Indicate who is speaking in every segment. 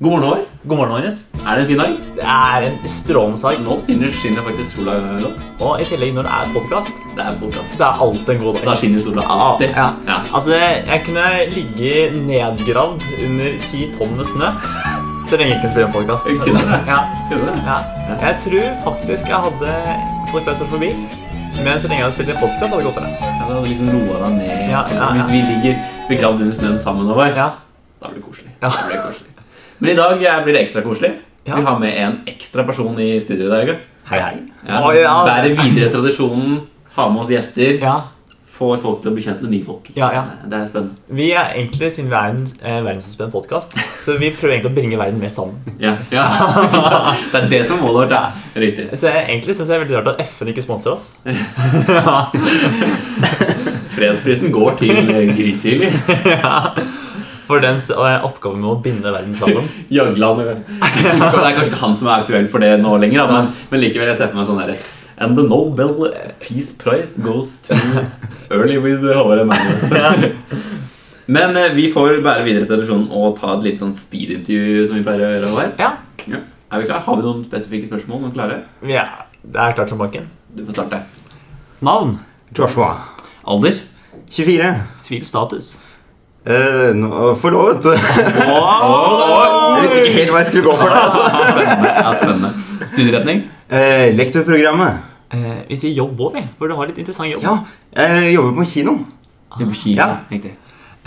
Speaker 1: God morgen, Håvard.
Speaker 2: God morgen, Magnus.
Speaker 1: Er det en fin dag?
Speaker 2: Det er en strålende dag.
Speaker 1: Nå skinner, skinner faktisk sola godt.
Speaker 2: Og i tillegg, når det er podkast,
Speaker 1: Det er podcast.
Speaker 2: så er alt en god
Speaker 1: Da
Speaker 2: dag.
Speaker 1: skinner sola alltid.
Speaker 2: Ja.
Speaker 1: Ja.
Speaker 2: Altså, jeg kunne ligge nedgravd under ti tonn med snø så lenge jeg ikke spiller en podkast.
Speaker 1: Jeg kunne det.
Speaker 2: Ja,
Speaker 1: Skjønner du?
Speaker 2: ja. Jeg tror faktisk jeg hadde fått klauser forbi, men så lenge jeg hadde spilt en podkast, hadde det gått bedre.
Speaker 1: Ja, det hadde liksom roa deg ned.
Speaker 2: Ja, ja, ja.
Speaker 1: Hvis vi ligger begravd under snøen sammen, Håvard,
Speaker 2: Ja.
Speaker 1: da blir det koselig.
Speaker 2: Ja.
Speaker 1: Da blir det koselig. Men i dag eh, blir det ekstra koselig.
Speaker 2: Ja.
Speaker 1: Vi har med en ekstra person i studio i dag.
Speaker 2: Hei, hei.
Speaker 1: Ja.
Speaker 2: Å, ja.
Speaker 1: Bærer videre tradisjonen. Ha med oss gjester.
Speaker 2: Ja.
Speaker 1: Får folk til å bli kjent med nye folk.
Speaker 2: Ja, ja.
Speaker 1: Det er spennende.
Speaker 2: Vi er egentlig, siden vi er en eh, verdensomspennende podkast, så vi prøver egentlig å bringe verden mer sammen.
Speaker 1: Ja, ja. Det er det som er målet vårt. da. Riktig.
Speaker 2: Så jeg egentlig syns jeg er veldig rart at FN ikke sponser oss.
Speaker 1: Fredsprisen går til eh, grytidlig.
Speaker 2: For den s- eh, oppgaven med å binde verden sammen.
Speaker 1: Jagland eller- Det er kanskje ikke han som er aktuell for det nå lenger, da, men, men likevel. Jeg ser for meg sånn herre And the Nobel Peace Prize goes to Early with Håvard Magnus. Men eh, vi får bære videre tradisjonen og ta et litt sånn speedintervju som vi pleier å gjøre. Håvard.
Speaker 2: Ja,
Speaker 1: Ja. Er vi klare? Har vi noen spesifikke spørsmål? Noen klare?
Speaker 2: vi er, Det er klart som banken.
Speaker 1: Du får starte.
Speaker 2: Navn,
Speaker 3: Joshua.
Speaker 1: Alder?
Speaker 3: 24.
Speaker 2: sivil status.
Speaker 3: Eh, nå- forlovet. Jeg visste ikke helt hva jeg skulle gå for. da, altså.
Speaker 1: Spennende. Ja, spennende. Studieretning?
Speaker 3: Eh, lektorprogrammet.
Speaker 2: Eh, vi sier jobb òg, vi. For du har litt interessant jobb.
Speaker 3: Ja, jeg jobber på kino.
Speaker 1: Jobber i Kina.
Speaker 3: Ja.
Speaker 1: Riktig.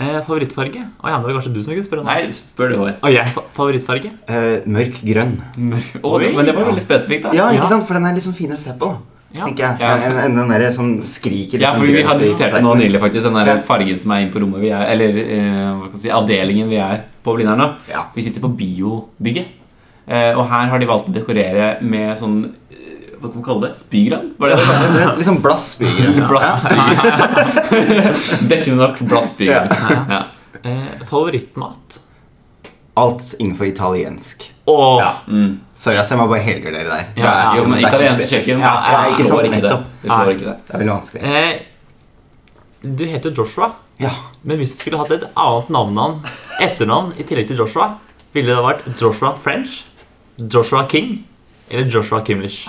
Speaker 2: Eh, favorittfarge? Å ja, det var kanskje du som skulle spørre om det.
Speaker 1: Nei, spør du, Håvard.
Speaker 2: Å, jeg, fa- favorittfarge?
Speaker 3: Eh, mørk grønn.
Speaker 1: Å, det-
Speaker 2: Oi.
Speaker 1: men det var veldig spesifikt, da.
Speaker 3: Ja,
Speaker 2: Ja.
Speaker 3: ikke sant? For den er litt sånn finere å se på. da,
Speaker 2: Ja.
Speaker 3: Tenker jeg.
Speaker 1: Ja.
Speaker 3: Enn en, den der som skriker litt
Speaker 1: Ja,
Speaker 3: sånn
Speaker 1: fordi vi
Speaker 3: grønt
Speaker 1: har
Speaker 3: i
Speaker 1: diskutert det nå
Speaker 3: sveisen.
Speaker 1: nylig, faktisk. Den der
Speaker 3: Ja.
Speaker 1: fargen som er inne på rommet vi er Eller eh, hva kan jeg si, avdelingen vi er på Blindern nå.
Speaker 3: Ja.
Speaker 1: Vi sitter på biobygget. Eh, og her har de valgt å dekorere med sånn eh, Hva kan man kalle det? Spygran? Var det det?
Speaker 3: Rett og slett Litt sånn blass bygrønn.
Speaker 1: Blassbygran. Dekkende nok blassbygran. Ja.
Speaker 2: Eh, favorittmat?
Speaker 3: Alt innenfor italiensk.
Speaker 2: Å!
Speaker 3: Ja.
Speaker 1: Mm.
Speaker 3: Sorry, ass, jeg må bare helge dere der. Det
Speaker 2: Ja,
Speaker 3: er-
Speaker 1: Jo, men
Speaker 3: det er ikke
Speaker 1: italienske
Speaker 3: spesielt.
Speaker 1: kjøkken
Speaker 2: Ja, ja,
Speaker 3: ikke sant,
Speaker 1: slår ikke det.
Speaker 3: nettopp.
Speaker 1: Det slår
Speaker 2: Nei.
Speaker 1: ikke det.
Speaker 3: Det er veldig vanskelig.
Speaker 2: Eh, du heter jo Joshua,
Speaker 3: Ja.
Speaker 2: men hvis du skulle hatt et annet navnnavn, etternavn, i tillegg til Joshua, ville det vært Joshua French, Joshua King eller Joshua Kimlish?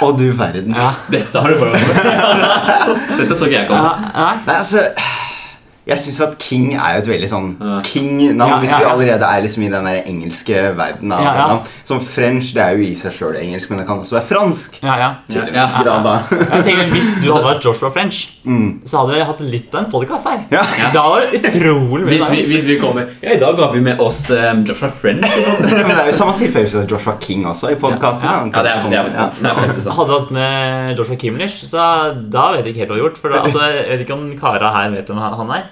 Speaker 3: Å, du verden.
Speaker 2: Ja.
Speaker 1: Dette har du foran deg. Dette så ikke jeg komme.
Speaker 2: Eh, nei,
Speaker 3: Nei, altså Jeg syns at King er jo et veldig sånn
Speaker 1: Ja.
Speaker 3: King-navn.
Speaker 2: Ja,
Speaker 3: Hvis
Speaker 2: ja,
Speaker 3: vi
Speaker 2: ja.
Speaker 3: allerede er liksom i den der engelske verden. Av
Speaker 2: Ja, ja.
Speaker 3: navn. Som French det er jo i seg sjøl engelsk, men det kan også være fransk.
Speaker 2: ja, ja.
Speaker 1: Ja,
Speaker 3: Til
Speaker 1: ja,
Speaker 3: en viss grad, da.
Speaker 2: Jeg tenker, Hvis du hadde vært Joshua French, så hadde jeg hatt litt av en podkast her.
Speaker 3: Mm. Ja.
Speaker 2: Da var det utrolig mye
Speaker 1: Hvis vi,
Speaker 2: der.
Speaker 1: hvis vi kommer Ja, i dag har vi med oss eh, Joshua French.
Speaker 3: Men det er jo samme tilfelle som Joshua King også i podkasten.
Speaker 2: Ja, ja.
Speaker 1: sånn. Ja, det er, det er faktisk sant. Det er faktisk sant.
Speaker 2: Hadde du hatt med Joshua Kimlish, så da vet jeg ikke helt hva du har gjort. For da, altså, jeg vet ikke om Kara her vet hvem han- han er.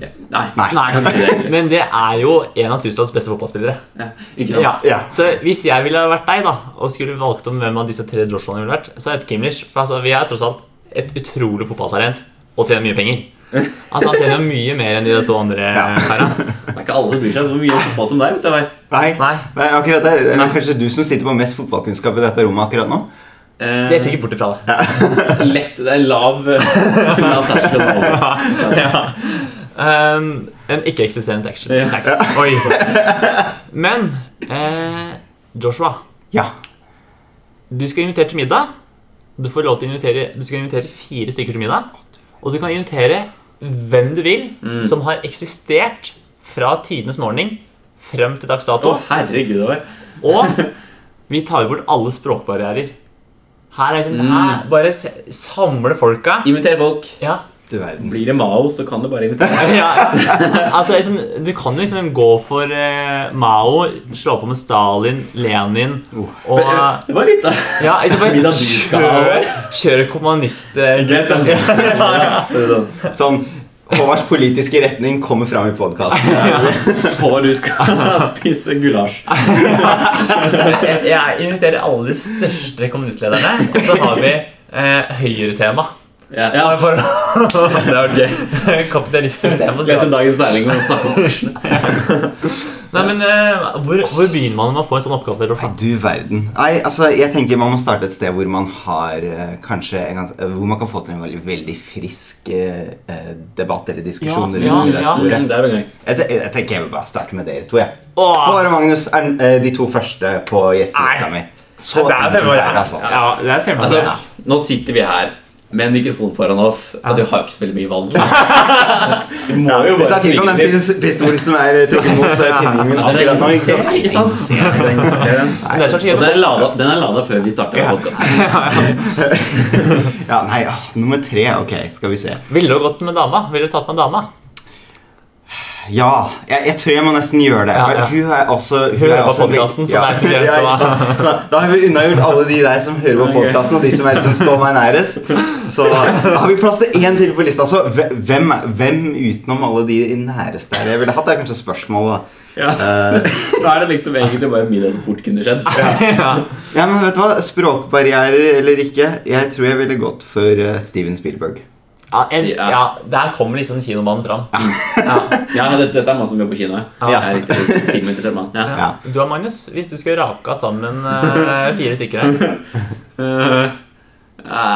Speaker 1: Nei.
Speaker 3: Nei.
Speaker 1: kan ikke det.
Speaker 2: Men det er jo en av Tysklands beste fotballspillere.
Speaker 1: Ja, ikke sant?
Speaker 2: Ja.
Speaker 3: Ja.
Speaker 2: Så hvis jeg ville vært deg, da, og skulle valgt om hvem av disse tre Joshuaene ville vært, så hadde jeg hett Kimlish. For altså, vi er tross alt et utrolig fotballtalent, og tjener mye penger. Altså, han tjener mye mer enn de to andre
Speaker 3: Ja.
Speaker 2: karene.
Speaker 1: Det er ikke alle som bryr seg så mye om fotball som deg. vet du hva?
Speaker 3: Nei,
Speaker 2: Nei.
Speaker 3: Nei, akkurat det. det er
Speaker 1: Nei.
Speaker 3: kanskje du som sitter på mest fotballkunnskap i dette rommet akkurat nå.
Speaker 1: Eh,
Speaker 2: Det er sikkert bort ifra det.
Speaker 1: lett. Det er lav, eh, lav terskel. å holde.
Speaker 2: ja. um, en ikke-eksisterende action.
Speaker 1: Ja.
Speaker 2: Action. Oi. Men eh, Joshua,
Speaker 3: Ja.
Speaker 2: du skal invitere til middag. Du får lov til å invitere Du skal invitere fire stykker til middag. Og du kan invitere hvem du vil som har eksistert fra tidenes morgen frem til dags
Speaker 1: Å,
Speaker 2: dato.
Speaker 1: herregud. det var-
Speaker 2: Og vi tar bort alle språkbarrierer. Her er det sånn, her, Bare se, samle folka.
Speaker 1: Inviter folk.
Speaker 2: Ja.
Speaker 3: Du verden.
Speaker 1: Blir det Mao, så kan det bare invitere.
Speaker 2: ja, ja. Altså, liksom, du kan jo liksom gå for eh, Mao, slå på med Stalin, Lenin og eh,
Speaker 1: Det var litt, da.
Speaker 2: ja, liksom bare
Speaker 1: Middag du skal
Speaker 2: kjør, kjør kommunist... eh,
Speaker 1: Greit, da.
Speaker 3: Sånn Håvards politiske retning kommer fram i podkasten.
Speaker 1: Og du skal spise gulasj.
Speaker 2: Jeg, jeg inviterer alle de største kommunistlederne, og så har vi eh, høyretema.
Speaker 1: Ja, ja
Speaker 2: For
Speaker 1: det har vært gøy.
Speaker 2: kapitalistisk tema. så-
Speaker 1: Lese Dagens Næring og snakke om Oslo.
Speaker 2: Nei, men eh, hvor, hvor begynner man når man får en sånn oppgave?
Speaker 3: Nei,
Speaker 2: Rolf?
Speaker 3: du verden. Nei, altså, jeg tenker Man må starte et sted hvor man har eh, kanskje en gans, eh, Hvor man kan få til en veldig, veldig frisk eh, eh, debatt eller diskusjon.
Speaker 2: Ja,
Speaker 3: rundt det
Speaker 2: ja.
Speaker 3: sporet.
Speaker 1: Det er vel gøy.
Speaker 3: Jeg, te- jeg tenker jeg vil bare starte med dere to. jeg.
Speaker 2: Åh,
Speaker 3: Bare Magnus er eh, de to første på gjestelista mi.
Speaker 2: Nei.
Speaker 3: Så
Speaker 2: det er
Speaker 3: enkelt
Speaker 2: femmeren.
Speaker 3: er det, altså.
Speaker 2: Ja, det er femmeren.
Speaker 1: Altså,
Speaker 2: ja.
Speaker 1: nå sitter vi her med en mikrofon foran oss, og du har jo ikke så veldig mye valg. Du må jo
Speaker 3: Hvis det
Speaker 1: bare
Speaker 3: er tvil
Speaker 1: snike
Speaker 3: om den
Speaker 1: litt.
Speaker 3: pis- pistolen som er eh, trukket mot eh, tinningen min
Speaker 1: Ja, det er
Speaker 3: akkurat nå
Speaker 1: ingen
Speaker 3: ikke
Speaker 1: som
Speaker 3: sant?
Speaker 1: ser, ikke sant?
Speaker 3: Ser den, ser den, ser den.
Speaker 2: Men det er
Speaker 1: Og den er
Speaker 2: så skjedelig.
Speaker 1: lada, den er lada før vi starter
Speaker 3: Ja.
Speaker 1: podkasten.
Speaker 3: Ja, nei, ah, Nummer tre. Ok, skal vi se.
Speaker 2: Ville du gått med dama? Ville du tatt med dama?
Speaker 3: Ja, jeg, jeg tror jeg må nesten gjøre det.
Speaker 2: Ja,
Speaker 3: For
Speaker 2: ja.
Speaker 3: hun er også
Speaker 2: Hun
Speaker 3: er
Speaker 2: hører på
Speaker 3: også veldig-
Speaker 2: podcasten, så det er ikke greit
Speaker 3: ja,
Speaker 2: å-
Speaker 3: ikke sant? så Da har vi unnagjort alle de der som hører på
Speaker 1: Ok.
Speaker 3: podkasten, og de som er liksom står meg nærest. Så da har vi plass til én til på lista. Så hve- hvem, hvem utenom alle de næreste her jeg ville hatt, er kanskje spørsmålet. da.
Speaker 1: Ja.
Speaker 3: Eh,
Speaker 1: Da er det liksom egentlig bare middag som fort kunne skjedd.
Speaker 2: Ja.
Speaker 3: ja, men vet du hva? Språkbarrierer eller ikke, jeg tror jeg ville gått for eh, Steven Spielberg.
Speaker 2: Ja, en,
Speaker 1: Ja.
Speaker 2: ja, der kommer liksom kinomannen fram.
Speaker 1: Ja, dette, dette er mann som jobber på kino. ja.
Speaker 2: Ja.
Speaker 1: Jeg er riktig filminteressert mann. Ja.
Speaker 3: Ja.
Speaker 2: Du da, Magnus, hvis du skulle raka sammen eh, fire stykker her
Speaker 1: Eh,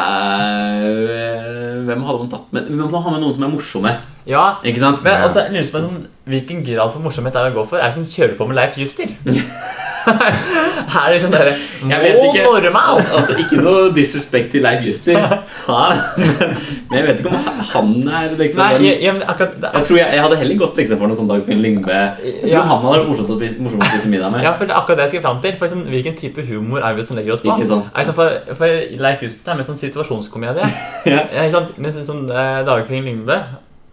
Speaker 1: eh, hvem hadde man tatt med? Man må ha med noen som er morsomme.
Speaker 2: Ja,
Speaker 1: Ikke sant?
Speaker 2: men altså, jeg lurer på sånn, Hvilken grad for morsomhet er det å gå for? Er det sånn kjøre på med Leif Juster? Her er det sånn derre
Speaker 1: Jeg vet
Speaker 2: Må
Speaker 1: ikke.
Speaker 2: norme alt!
Speaker 1: Altså, Ikke noe disrespekt til Leif Juster, Ja, men, men jeg vet ikke om han er liksom
Speaker 2: Nei,
Speaker 1: den
Speaker 2: jeg, jeg, men akkurat det,
Speaker 1: Jeg tror jeg, jeg hadde heller gått liksom, for noe sånn Dagfinn Lyngbe. Jeg tror
Speaker 2: Ja.
Speaker 1: han hadde vært morsomt å spise, morsom å spise middag med.
Speaker 2: ja, for det er akkurat det jeg skal fram til. For sånn, Hvilken type humor er vi som legger oss på?
Speaker 1: Ikke sant.
Speaker 2: Er det sånn for, for Leif Juster er mer sånn situasjonskomedie.
Speaker 1: Ja.
Speaker 2: Ja, ikke sant? Mens sånn eh, Dagfinn Lyngbø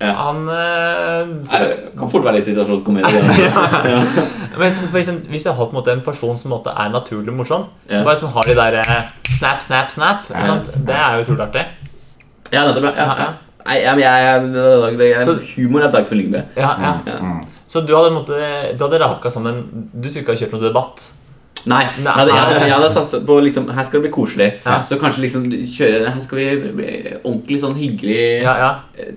Speaker 1: Ja.
Speaker 2: Han eh,
Speaker 1: Nei, det Kan fort være litt situasjonskomedie. Ja.
Speaker 2: Men sånn, for eksempel, Hvis jeg har på en måte en person som på en måte er naturlig morsom,
Speaker 1: Ja.
Speaker 2: så bare sånn har de der eh, snap, snap, snap ikke
Speaker 1: Ja.
Speaker 2: sant? Det er jo utrolig artig.
Speaker 1: Ja, nettopp. Ja, ja, ja. Nei, ja, men jeg, jeg, det- det-
Speaker 2: Så-
Speaker 1: humor er Dagfinn Lyngbe.
Speaker 2: Ja, ja.
Speaker 1: Ja.
Speaker 2: Så du hadde, på en måte, du hadde raka sammen Du skulle ikke ha kjørt noe debatt.
Speaker 1: Nei, jeg
Speaker 2: Nei.
Speaker 1: hadde, jeg hadde, jeg hadde satset på liksom, Her skal det bli koselig.
Speaker 2: Ja.
Speaker 1: Så kanskje liksom du kjører Her skal vi bli ordentlig sånn hyggelig.
Speaker 2: Ja, ja,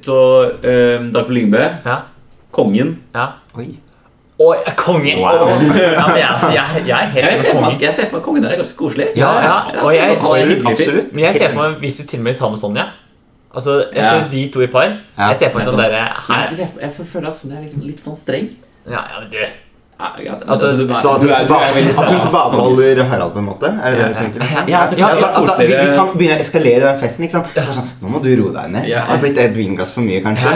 Speaker 1: Så um, Dagfinn Lyngbø,
Speaker 2: ja,
Speaker 1: kongen
Speaker 2: ja. eh,
Speaker 3: Oi.
Speaker 2: Oi, kongen!
Speaker 3: Wow.
Speaker 2: Ja, men jeg, altså, jeg, jeg er helt
Speaker 1: Jeg
Speaker 2: enig
Speaker 1: ser
Speaker 2: med
Speaker 1: for meg
Speaker 2: kongen.
Speaker 1: at- jeg ser for meg at kongen der er ganske koselig.
Speaker 2: Ja, ja. Og
Speaker 1: Jeg ser for meg at han er
Speaker 2: jeg,
Speaker 1: en
Speaker 3: Absolutt.
Speaker 1: hyggelig fyr.
Speaker 3: absolutt.
Speaker 2: men jeg ser for meg hvis du til og med tar med Sonja Altså, jeg
Speaker 1: Ja.
Speaker 2: tror De to i par.
Speaker 3: Ja,
Speaker 2: Jeg ser for meg
Speaker 1: det er
Speaker 2: sånn
Speaker 1: sant.
Speaker 2: derre
Speaker 1: Nei,
Speaker 2: her-
Speaker 1: for Jeg, jeg føler at Sonja er liksom litt sånn streng.
Speaker 2: Ja, ja, men du
Speaker 1: Ja, greit.
Speaker 2: Altså,
Speaker 1: du,
Speaker 3: Så at
Speaker 1: du
Speaker 3: hun
Speaker 1: er- du er veldig
Speaker 3: tilbake- at hun
Speaker 1: sta.
Speaker 3: tilbakeholder Harald på en måte? Er det det du tenker?
Speaker 1: Ja,
Speaker 3: At-
Speaker 1: ja,
Speaker 3: altså,
Speaker 1: ja,
Speaker 3: at,
Speaker 1: koseligere.
Speaker 3: hvis han begynner å eskalere den festen, ikke sant? Så er det sånn, nå må du roe deg ned.
Speaker 1: Ja.
Speaker 3: Det har blitt et vinglass for mye, kanskje.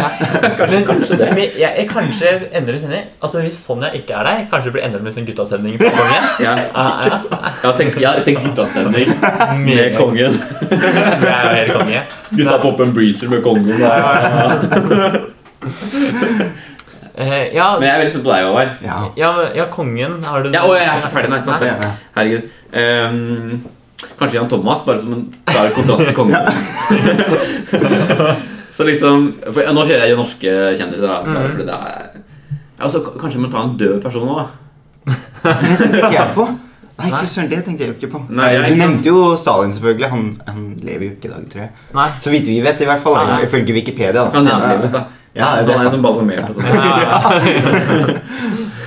Speaker 1: kanskje, kanskje det.
Speaker 2: Men jeg, jeg kanskje endrer sender. Altså, Hvis Sonja ikke er der, kanskje det blir endret med sin guttastemning. fra kongen. Ah,
Speaker 1: Ja.
Speaker 2: Ja, ja.
Speaker 1: Jeg har tenkt, jeg har tenkt guttastemning med
Speaker 2: Meget.
Speaker 1: kongen.
Speaker 2: ah, Det er jo helt konge.
Speaker 1: Gutta popper en breezer med kongen.
Speaker 2: Eh, ja,
Speaker 1: Men jeg er veldig spent på deg, Håvard.
Speaker 3: Ja.
Speaker 2: ja, men- ja, kongen har du
Speaker 1: Ja, å, jeg er ikke ferdig, nei. Sant?
Speaker 3: Ja, ja.
Speaker 1: Herregud. Ehm, kanskje Jan Thomas, bare som en klar kontrast til kongen. så liksom for, Nå kjører jeg jo norske kjendiser, da. Bare fordi det er ja, altså, k- Kanskje man tar en død person nå, da.
Speaker 3: Det tenker jeg på. Nei,
Speaker 2: Nei.
Speaker 3: fy søren, det tenkte jeg jo ikke på.
Speaker 1: Nei, ja, ikke sånn.
Speaker 3: du
Speaker 1: sant.
Speaker 3: nevnte jo Stalin, selvfølgelig. Han, han lever jo ikke i dag, tror jeg.
Speaker 2: Nei.
Speaker 3: Så vidt vi vet, i hvert fall.
Speaker 2: Ja, ja.
Speaker 3: Ifølge Wikipedia. da.
Speaker 1: Kan gjenleves, da.
Speaker 3: Ja,
Speaker 1: Han
Speaker 3: det
Speaker 1: er
Speaker 3: er
Speaker 1: jo som
Speaker 3: sant.
Speaker 1: balsamert og sånn.
Speaker 2: Ja, ja, ja.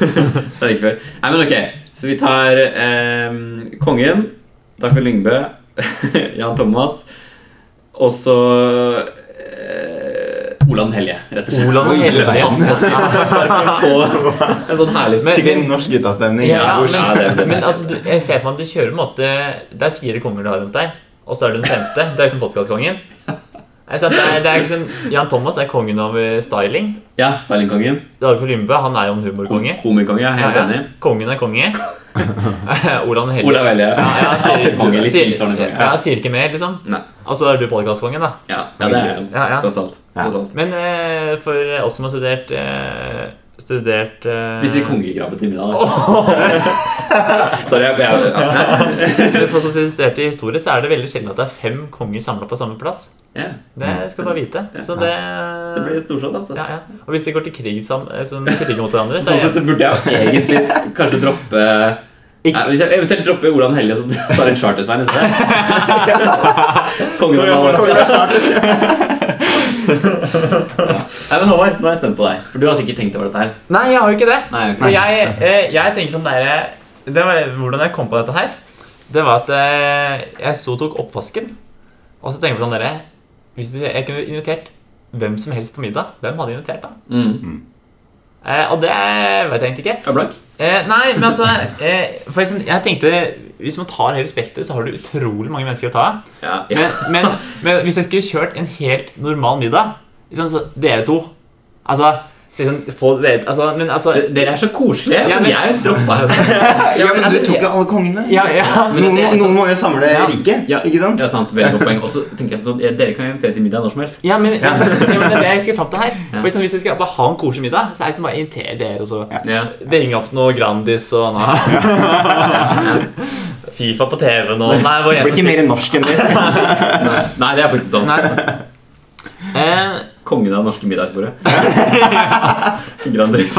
Speaker 1: Det er ikke før. Nei, men ok, så vi tar ehm, kongen, Dagfinn Lyngbø, Jan Thomas, og så eh, Olav den hellige, rett og slett.
Speaker 2: Olav og Helvete.
Speaker 3: Oi,
Speaker 2: Ja.
Speaker 1: Bare for å få en sånn herlig
Speaker 2: Men-
Speaker 3: Skikkelig norsk guttastemning.
Speaker 2: Ja,
Speaker 3: Hvor-
Speaker 1: Ja, det- det- det-
Speaker 2: men, men altså, du, jeg ser for meg at du kjører på en måte Det er fire konger du har rundt deg, og så er du den femte. Du er liksom podkastkongen. Det er, det er liksom, Jan Thomas er kongen av eh, styling.
Speaker 1: Ja, Stalin-kongen.
Speaker 2: Dagfjord Lymbe han er jo en humorkonge.
Speaker 1: Komikonge, jeg er helt
Speaker 2: Ja, ja.
Speaker 1: enig.
Speaker 2: Kongen er konge. Olav den hellige.
Speaker 1: Olav Hellige.
Speaker 2: Ja, ja, sier,
Speaker 1: Konge, litt
Speaker 2: sier,
Speaker 1: tilsvarende konge.
Speaker 2: ja, sier ikke mer, liksom.
Speaker 1: Nei.
Speaker 2: Altså, er du podkastkongen, da.
Speaker 1: Ja, ja, det er jo
Speaker 2: Ja, ja.
Speaker 1: tross alt. Tross alt.
Speaker 2: Men eh, for oss som har studert eh, Studert eh,
Speaker 1: Spiser vi kongekrabbe til middag? da?
Speaker 2: Åh!
Speaker 1: Sorry, jeg, jeg, ja,
Speaker 2: For oss som studerte historie, så er det veldig sjelden at det er fem konger samla på samme plass.
Speaker 1: ja.
Speaker 2: Det skal du bare vite. Så det,
Speaker 1: Mm. Det blir storslått, altså.
Speaker 2: ja, ja. Og hvis de går til krig, sammen, eh, sånn, til krig mot hverandre, så
Speaker 1: Sånn
Speaker 2: er
Speaker 1: sett så burde jeg jo egentlig kanskje droppe Ja, hvis jeg eventuelt dropper Olav Hellige så tar jeg en chartersvein i stedet. Kongen av alle. Nei, men Håvard, nå er jeg spent på deg. For du har sikkert tenkt over dette her.
Speaker 2: Nei, jeg har jo ikke det.
Speaker 1: Nei, ok.
Speaker 2: For jeg, eh, jeg tenker sånn der, det var, Hvordan jeg kom på dette her, det var at eh, jeg så og tok oppvasken. Og så tenker jeg på sånn dere Hvis du- jeg kunne invitert hvem som helst på middag, hvem hadde jeg invitert da?
Speaker 1: Mm.
Speaker 2: Eh, og det vet jeg egentlig ikke.
Speaker 1: Er du blank?
Speaker 2: Eh, nei, men altså eh, for eksempel, Jeg tenkte Hvis man tar hele spekteret, så har du utrolig mange mennesker å ta av.
Speaker 1: Ja.
Speaker 2: Men, men, men hvis jeg skulle kjørt en helt normal middag liksom, så Dere to Altså, si sånn, få dere, altså Men altså
Speaker 1: D- Dere er så koselige.
Speaker 2: Ja,
Speaker 1: men
Speaker 2: men-
Speaker 1: jeg droppa henne.
Speaker 3: Ja, men
Speaker 2: altså,
Speaker 3: du tok jo alle kongene.
Speaker 2: Ja, ja.
Speaker 3: Noen, må- noen må jo samle
Speaker 2: Ja.
Speaker 3: riket,
Speaker 1: Ja,
Speaker 3: ikke sant?
Speaker 1: Ja, sant. Veldig godt poeng. Og så tenker jeg sånn at dere kan invitere til middag når som helst.
Speaker 2: Ja, men, ja. men det er det jeg skal fram til her.
Speaker 1: Ja.
Speaker 2: For eksempel, hvis jeg skal bare ha en koselig middag, så er det liksom bare å invitere dere. og så
Speaker 1: Ja.
Speaker 2: Ringe opp noe Grandis og noe Fifa på TV nå. Nei, hvor
Speaker 3: Det
Speaker 2: jeg
Speaker 3: blir ikke mer norsk enn det.
Speaker 1: Nei, det er faktisk sant.
Speaker 2: Nei. Eh,
Speaker 1: Kongen av det norske middagsbordet. Grandis.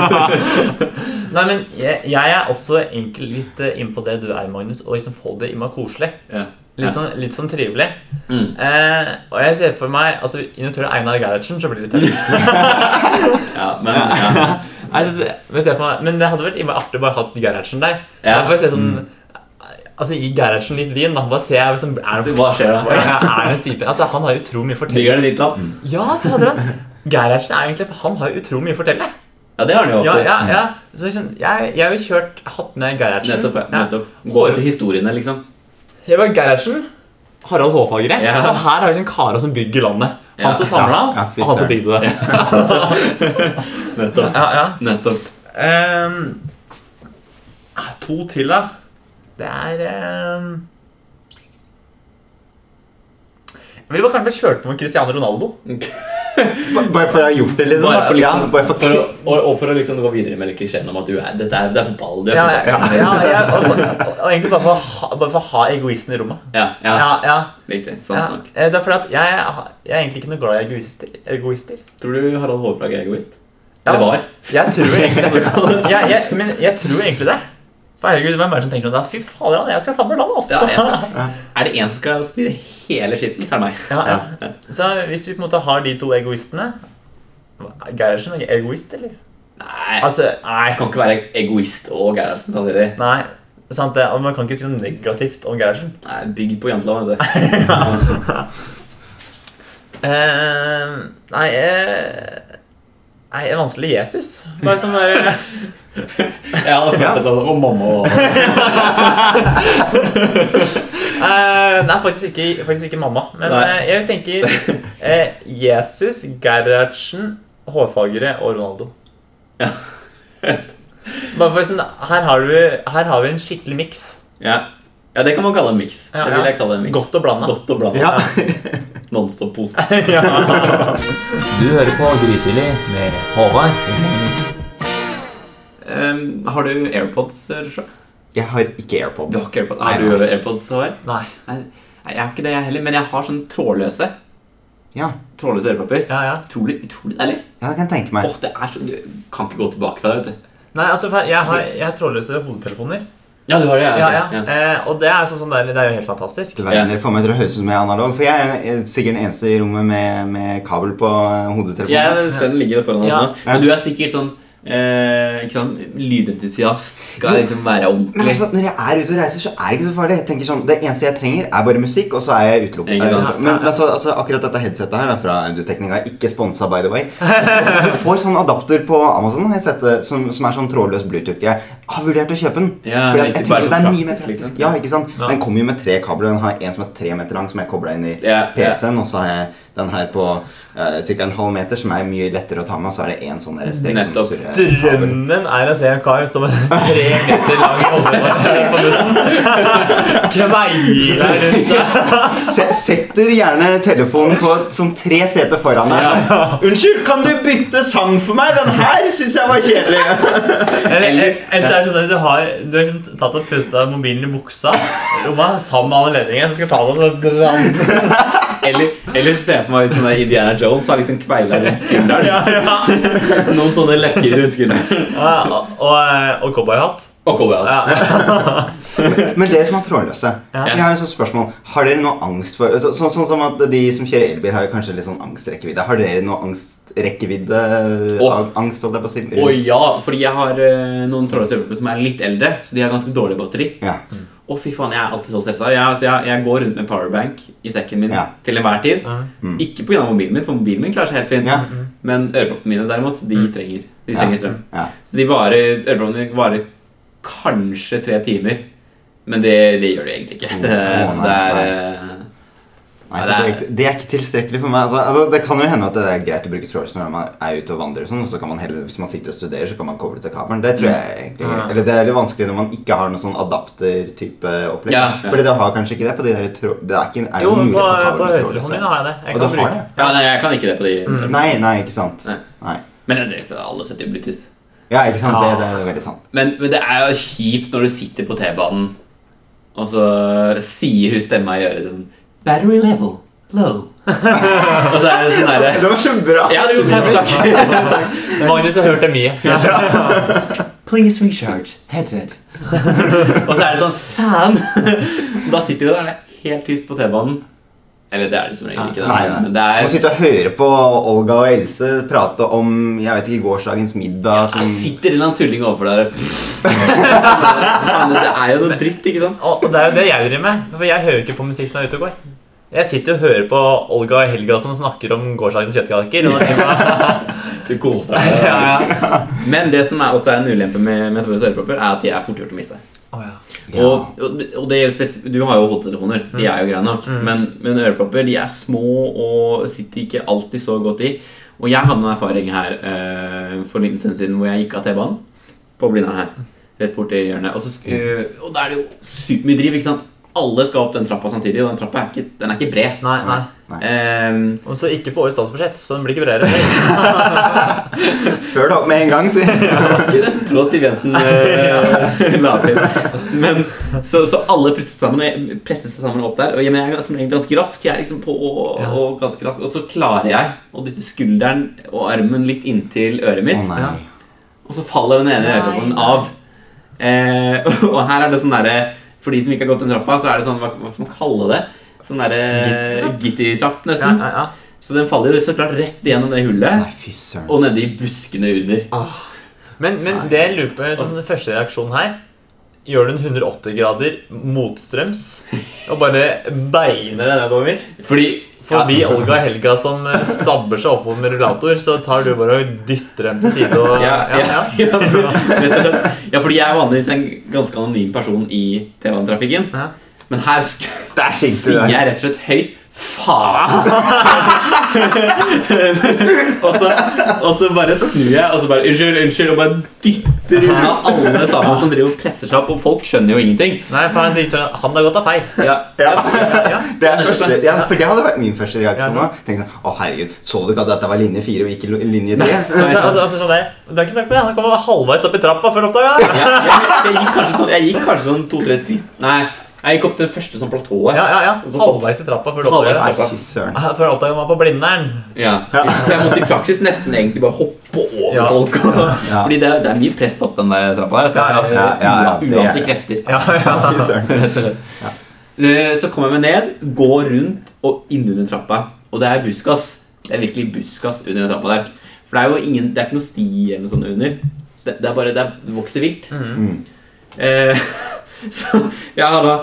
Speaker 2: nei, men jeg, jeg er også egentlig litt eh, inn på det du er, Magnus. Å liksom få det innmari koselig.
Speaker 1: Ja.
Speaker 2: Litt,
Speaker 1: Ja.
Speaker 2: sånn, litt sånn trivelig.
Speaker 1: Mm.
Speaker 2: Eh, og jeg ser for meg altså, Inviterer du Einar Gerhardsen, så blir det litt tøft.
Speaker 1: Ja, men ja.
Speaker 2: Nei, så det- men, se på meg. men det hadde vært innmari artig å bare hatt Gerhardsen der.
Speaker 1: Ja. Mm.
Speaker 2: Jeg får se sånn, altså, Gi Gerhardsen litt vin. da, Bare se er det sånn, er
Speaker 1: Så
Speaker 2: det,
Speaker 1: Hva skjer da?
Speaker 2: er det en stipe? Altså, Han har utrolig mye å fortelle.
Speaker 1: Ligger det ditt land?
Speaker 2: Ja, fader han. Gerhardsen er egentlig, han har utrolig mye å fortelle.
Speaker 1: Ja, det har den jo
Speaker 2: Ja, ja,
Speaker 1: absolutt.
Speaker 2: ja. Så liksom, jeg, jeg ville kjørt hatt med Gerhardsen.
Speaker 1: Nettopp. ja,
Speaker 2: Ja.
Speaker 1: nettopp. Gå etter historiene, liksom.
Speaker 2: Jeg var Gerhardsen, Harald Hårfagre,
Speaker 1: Ja.
Speaker 2: og her har vi liksom kara som bygger landet. Han
Speaker 1: Ja.
Speaker 2: som samla,
Speaker 3: Ja, ja, fy
Speaker 2: og han som
Speaker 3: søren.
Speaker 2: bygde det.
Speaker 1: Nettopp.
Speaker 2: Ja, ja.
Speaker 1: Nettopp.
Speaker 2: Ehm, ah, to til, da. Det er ehm, Jeg ville bare kanskje kjørt på med Cristiano Ronaldo.
Speaker 3: Bare for å ha gjort det, liksom.
Speaker 1: Bare for, liksom,
Speaker 3: ja, bare for,
Speaker 1: for å, og, og for å liksom gå videre med klisjeen om at du er dette er, det er fotball. Du er
Speaker 2: Ja,
Speaker 1: fotball.
Speaker 2: ja, ja, ja, og, og, og egentlig bare for, å ha, bare for å ha egoisten i rommet.
Speaker 1: Ja, ja,
Speaker 2: Ja, ja,
Speaker 1: Riktig. Sant
Speaker 2: ja.
Speaker 1: nok.
Speaker 2: Eh, Det er fordi at jeg, jeg er egentlig ikke noe glad i egoister. egoister.
Speaker 1: Tror du Harald Hårflagg er egoist?
Speaker 2: Ja,
Speaker 1: Eller var?
Speaker 2: Jeg tror egentlig jeg, jeg, Men jeg tror egentlig det. For herregud, hvem er det som tenker sånn da? Fy fader, han, jeg skal samle landet altså.
Speaker 1: Ja,
Speaker 2: også!
Speaker 1: jeg skal. Er det en som skal styre hele skitten, så er det meg.
Speaker 2: Ja, ja. Så hvis vi på en måte har de to egoistene Gerhardsen er ikke egoist, eller?
Speaker 1: Nei,
Speaker 2: Altså, nei.
Speaker 1: jeg kan ikke være egoist og Gerhardsen samtidig.
Speaker 2: nei. Sant det, og Man kan ikke si noe negativt om Gerhardsen.
Speaker 1: Nei, Bygd på janteloven, vet du.
Speaker 2: Eh, nei, eh, nei, en vanskelig Jesus. Bare sånn der,
Speaker 1: Jeg hadde følt
Speaker 3: Ja.
Speaker 1: et eller annet om mamma og alle.
Speaker 2: Eh, nei, faktisk ikke, faktisk ikke mamma. Men
Speaker 1: Nei.
Speaker 2: eh, jeg tenker eh, Jesus, Gerhardsen, Hårfagre og Ronaldo. Bare for sånn, her har, du, her har vi en skikkelig miks.
Speaker 1: Ja. ja, det kan man kalle en miks.
Speaker 2: Ja,
Speaker 1: Det vil
Speaker 2: ja.
Speaker 1: jeg kalle en mix.
Speaker 2: Godt og blanda.
Speaker 1: Godt og blanda.
Speaker 3: ja.
Speaker 1: Nonstop-pose.
Speaker 2: Du hører på Grytidlig med Håvard
Speaker 1: Um, har du AirPods, Rusha?
Speaker 3: Jeg har ikke
Speaker 1: Du
Speaker 3: AirPods.
Speaker 1: har ikke AirPods?
Speaker 3: Nei,
Speaker 1: Har du
Speaker 3: nei.
Speaker 1: AirPods, Håvard?
Speaker 2: Nei.
Speaker 1: Nei, nei, jeg har ikke det, jeg heller. Men jeg har sånne trådløse
Speaker 3: Ja,
Speaker 1: Trådløse ørepropper.
Speaker 2: Ja, ja.
Speaker 1: Utrolig, utrolig deilig.
Speaker 3: ja det kan jeg tenke
Speaker 1: Åh,
Speaker 3: meg.
Speaker 1: det er så Du kan ikke gå tilbake fra det, vet du.
Speaker 2: Nei, altså, for jeg har, jeg har trådløse hodetelefoner.
Speaker 1: Ja, du har det?
Speaker 2: Ja, ja.
Speaker 1: ok, ja.
Speaker 2: Eh, og det er, sånn, som det er, det er jo helt fantastisk.
Speaker 3: Du verden, Dere får meg til å høres ut som jeg er analog, for jeg er sikkert den eneste i rommet med, med kabel på eh, hodetelefonen.
Speaker 1: Jeg ser den ligger foran oss
Speaker 2: Ja.
Speaker 1: nå. Men du er sikkert sånn eh, ikke sant? Lydentusiast. Skal liksom være
Speaker 3: Men
Speaker 1: ordentlig.
Speaker 3: altså, når jeg er ute og reiser, så er det ikke så farlig. Jeg tenker sånn, Det eneste jeg trenger, er bare musikk, og så er jeg utelukket.
Speaker 1: Ikke sant?
Speaker 3: Men, men altså, altså, akkurat dette headsetet her er fra Audio-teknika. Ikke sponsa, by the way. Du får sånn adapter på Amazon har jeg sett det, som, som er sånn trådløs Bluetooth-greie. Har vurdert å kjøpe den.
Speaker 1: Ja,
Speaker 3: fordi
Speaker 1: ikke
Speaker 3: at jeg
Speaker 1: bare
Speaker 3: tenker det er
Speaker 1: sånn
Speaker 3: mye mer
Speaker 1: praktisk,
Speaker 3: praktisk.
Speaker 1: liksom.
Speaker 3: Ja, ikke sant?
Speaker 2: Ja.
Speaker 3: Den kommer jo med tre kabler. Den har en som er tre meter lang, som jeg kobla inn i
Speaker 1: Ja, ja.
Speaker 3: PC-en. Og så har jeg den her på uh, ca. en halv meter, som er mye lettere å ta med. Og så er det en sånn der stek som
Speaker 1: Nettopp.
Speaker 3: surrer.
Speaker 2: Drømmen er å se en kar som er tre meter lang i hodet på bussen. Kveiler rundt seg.
Speaker 3: Se- Setter gjerne telefonen på et sånn tre seter foran deg. Unnskyld, kan du bytte sang for meg? Den her syns jeg var kjedelig.
Speaker 2: Eller eller- eller så er det sånn at du har, du har liksom tatt og putta mobilen i buksa rommet, sammen med alle ledningene, så skal ta den og dra den.
Speaker 1: Eller, eller se for meg litt sånn der Indiana Jones har liksom kveila rundt skulderen.
Speaker 2: Ja, ja.
Speaker 1: Noen sånne lekker rundt skulderen.
Speaker 2: eh, Og, og, og cowboyhatt.
Speaker 1: Og cowboyhatt.
Speaker 2: Ja.
Speaker 3: Men dere som er trådløse, jeg har et sånt spørsmål. Har dere noe angst for så, så, Sånn som at de som kjører elbil, har jo kanskje litt sånn angstrekkevidde. Har dere noe angstrekkevidde
Speaker 1: Å.
Speaker 3: Angst, holdt jeg på å si. rundt-
Speaker 1: Og ja, fordi jeg har eh, noen trådløse hjelpere som er litt eldre, så de har ganske dårlig batteri.
Speaker 3: Ja.
Speaker 1: Å, fy faen, jeg er alltid så stressa. Jeg, altså, jeg, jeg går rundt med en powerbank i sekken min
Speaker 3: Ja.
Speaker 1: til enhver tid.
Speaker 2: Mhm.
Speaker 3: Mm.
Speaker 1: Ikke pga. mobilen min, for mobilen min klarer seg helt fint.
Speaker 3: Ja.
Speaker 1: Men øreproppene mine derimot, de trenger, de
Speaker 3: Ja.
Speaker 1: trenger strøm.
Speaker 3: Ja.
Speaker 1: Så de varer, øreproppene mine varer kanskje tre timer. Men det, det gjør de egentlig ikke. Det,
Speaker 3: Å,
Speaker 1: så det
Speaker 3: nei,
Speaker 1: er eh,
Speaker 3: Nei,
Speaker 1: Ja,
Speaker 3: det, er,
Speaker 1: det
Speaker 3: ikke- det er ikke tilstrekkelig for meg. Altså, altså, det kan jo hende at det er greit å bruke trådløs når man er ute og vandrer. og Sånn, og så kan man heller, hvis man sitter og studerer, så kan man koble til kabelen. Det tror jeg egentlig
Speaker 2: Ja.
Speaker 3: Eller det er litt vanskelig når man ikke har noen sånn adapter-type opplegg.
Speaker 1: Ja, ja.
Speaker 3: Fordi det har kanskje ikke det på de der tråd... Det er, ikke, er
Speaker 2: Jo,
Speaker 3: det noen
Speaker 2: men på,
Speaker 3: mulighet for
Speaker 2: på
Speaker 3: kabel med
Speaker 2: høytelefonen min
Speaker 3: trådløse?
Speaker 2: har jeg det. Jeg
Speaker 3: Og
Speaker 2: kan
Speaker 3: du har
Speaker 2: bruke- Mm.
Speaker 3: det?
Speaker 1: Ja, nei, jeg kan ikke det på de øreproppene.
Speaker 3: Nei, nei, ikke sant.
Speaker 1: Nei.
Speaker 3: Nei.
Speaker 1: Men det, alle setter jo Bluetooth.
Speaker 3: Ja, ikke sant.
Speaker 2: Ja.
Speaker 3: Det, det er veldig sant.
Speaker 1: Men, men det er jo kjipt når du sitter på T-banen, og så sier hun stemma i øret ditt sånn Battery level low. og så er det sånn derre
Speaker 3: Det var så bra!
Speaker 1: Ja, jo, takk, takk.
Speaker 2: Magnus har hørt det mye.
Speaker 1: Please recharge headset. og så er det sånn Fan! da sitter du der, det er helt tyst på T-banen. Eller det er det som regel ikke,
Speaker 3: Nei,
Speaker 1: da.
Speaker 3: nei.
Speaker 1: Men det
Speaker 3: Å
Speaker 1: er
Speaker 3: sitte og høre på Olga og Else prate om jeg vet ikke, gårsdagens middag
Speaker 1: jeg
Speaker 3: som
Speaker 1: sitter en eller annen tulling overfor deg og Faen, Det er jo noe dritt, ikke sant?
Speaker 2: Og, og det er jo det jeg driver med. For jeg hører ikke på musikk når jeg er ute og går. Jeg sitter og hører på Olga og Helga som snakker om gårsdagens kjøttkaker. Og da tenker jeg,
Speaker 1: Du koser deg.
Speaker 2: ja, ja.
Speaker 1: Men det som er også er en ulempe med, med trådløse ørepropper, er at de er fort gjort å miste.
Speaker 2: Å, ja.
Speaker 3: Ja.
Speaker 1: Og, og, og det gjelder spes Du har jo hodetelefoner, de er jo greie nok. Men, men ørepropper de er små og sitter ikke alltid så godt i. Og jeg hadde en erfaring her eh, for en liten stund siden hvor jeg gikk av T-banen. På Blindern her. Rett borti hjørnet. Og, så, sk- eh, og da er det jo supermye driv. ikke sant? Alle skal opp den trappa samtidig, og den trappa er ikke, den er ikke bred.
Speaker 2: Nei, nei.
Speaker 1: Ehm,
Speaker 2: Og så ikke på årets statsbudsjett, så den blir ikke bredere.
Speaker 3: Før det opp med en gang, sier jeg.
Speaker 1: Jeg skulle nesten tro at sånn Siv Jensen eh, la opp til. Men, så, så alle presset, sammen, og jeg presset seg sammen opp der. Og jeg, men jeg er som regel ganske rask. Jeg er liksom på og,
Speaker 2: Ja.
Speaker 1: og ganske rask Og så klarer jeg å dytte skulderen og armen litt inntil øret
Speaker 3: Å
Speaker 1: mitt.
Speaker 3: nei.
Speaker 2: Ja.
Speaker 1: Og så faller den ene
Speaker 2: Nei,
Speaker 1: øreproppen
Speaker 2: nei.
Speaker 1: av. Eh, og her er det sånn derre For de som ikke har gått den trappa, så er det sånn Hva, hva skal man kalle det? Sånn derre Gitti-trapp,
Speaker 2: Ja,
Speaker 1: nesten.
Speaker 2: ja, ja.
Speaker 1: Så den faller jo så klart rett igjennom det hullet.
Speaker 3: Nei, fy søren.
Speaker 1: Og nede i buskene under.
Speaker 2: Men, men det jeg lurer på, sånn den første reaksjonen her Gjør den 180 grader motstrøms og bare beiner det nedover?
Speaker 1: Fordi
Speaker 2: Forbi Olga og Helga som eh, stabber seg oppover med rullator, så tar du bare og dytter dem til side og
Speaker 1: ja, ja, ja. for- rett og slett. ja, fordi jeg er vanligvis en ganske anonym person i T-banetrafikken.
Speaker 2: Ja.
Speaker 1: Men her sk
Speaker 3: Der skinte
Speaker 1: sier
Speaker 3: du deg.
Speaker 1: jeg rett og slett høyt faen! og, så, og så bare snur jeg og så bare unnskyld, unnskyld, og bare dytter unna alle sammen som driver og presser seg opp, og folk skjønner jo ingenting.
Speaker 2: Nei, for han, drikker, sånn han har gått av feil.
Speaker 1: Ja,
Speaker 3: Ja.
Speaker 2: Ja,
Speaker 3: Det er første, ja, for det hadde vært min første reaksjon.
Speaker 2: Ja.
Speaker 3: da. Tenk sånn, Å, herregud, så du ikke at dette var linje fire og ikke lo- linje
Speaker 2: Altså,
Speaker 3: tre?
Speaker 2: altså, altså, sånn der, det er ikke nok med det. Han kommer halvveis opp i trappa før han oppdager det.
Speaker 1: ja, jeg, jeg gikk kanskje sånn, jeg gikk kanskje sånn to-tre skritt Nei, jeg gikk opp til det første sånn platået.
Speaker 2: Ja, ja, ja.
Speaker 1: Og så fått-
Speaker 2: Halvveis i trappa før han oppdager
Speaker 1: Halvveis i
Speaker 2: det.
Speaker 3: Nei, fy søren.
Speaker 2: Før han oppdager man på Blindern.
Speaker 1: Ja. Så jeg måtte i praksis nesten egentlig bare hoppe over
Speaker 2: Ja.
Speaker 1: folk. Og,
Speaker 3: Ja.
Speaker 1: Fordi det er, det er mye press opp den der trappa der. så det er
Speaker 3: Ja, ja, ja, ja,
Speaker 1: ua-
Speaker 3: det er-
Speaker 1: Uante krefter.
Speaker 2: Ja, ja.
Speaker 3: Fy søren.
Speaker 1: Eh, Så kommer jeg meg ned, går rundt og innunder trappa. Og det er buskas. Det er virkelig buskas under den trappa der. For det er jo ingen, det er ikke noe sti eller noe sånt under. Så det, det er bare, det, er, det vokser vilt.
Speaker 3: Mm.
Speaker 1: Eh, så jeg har da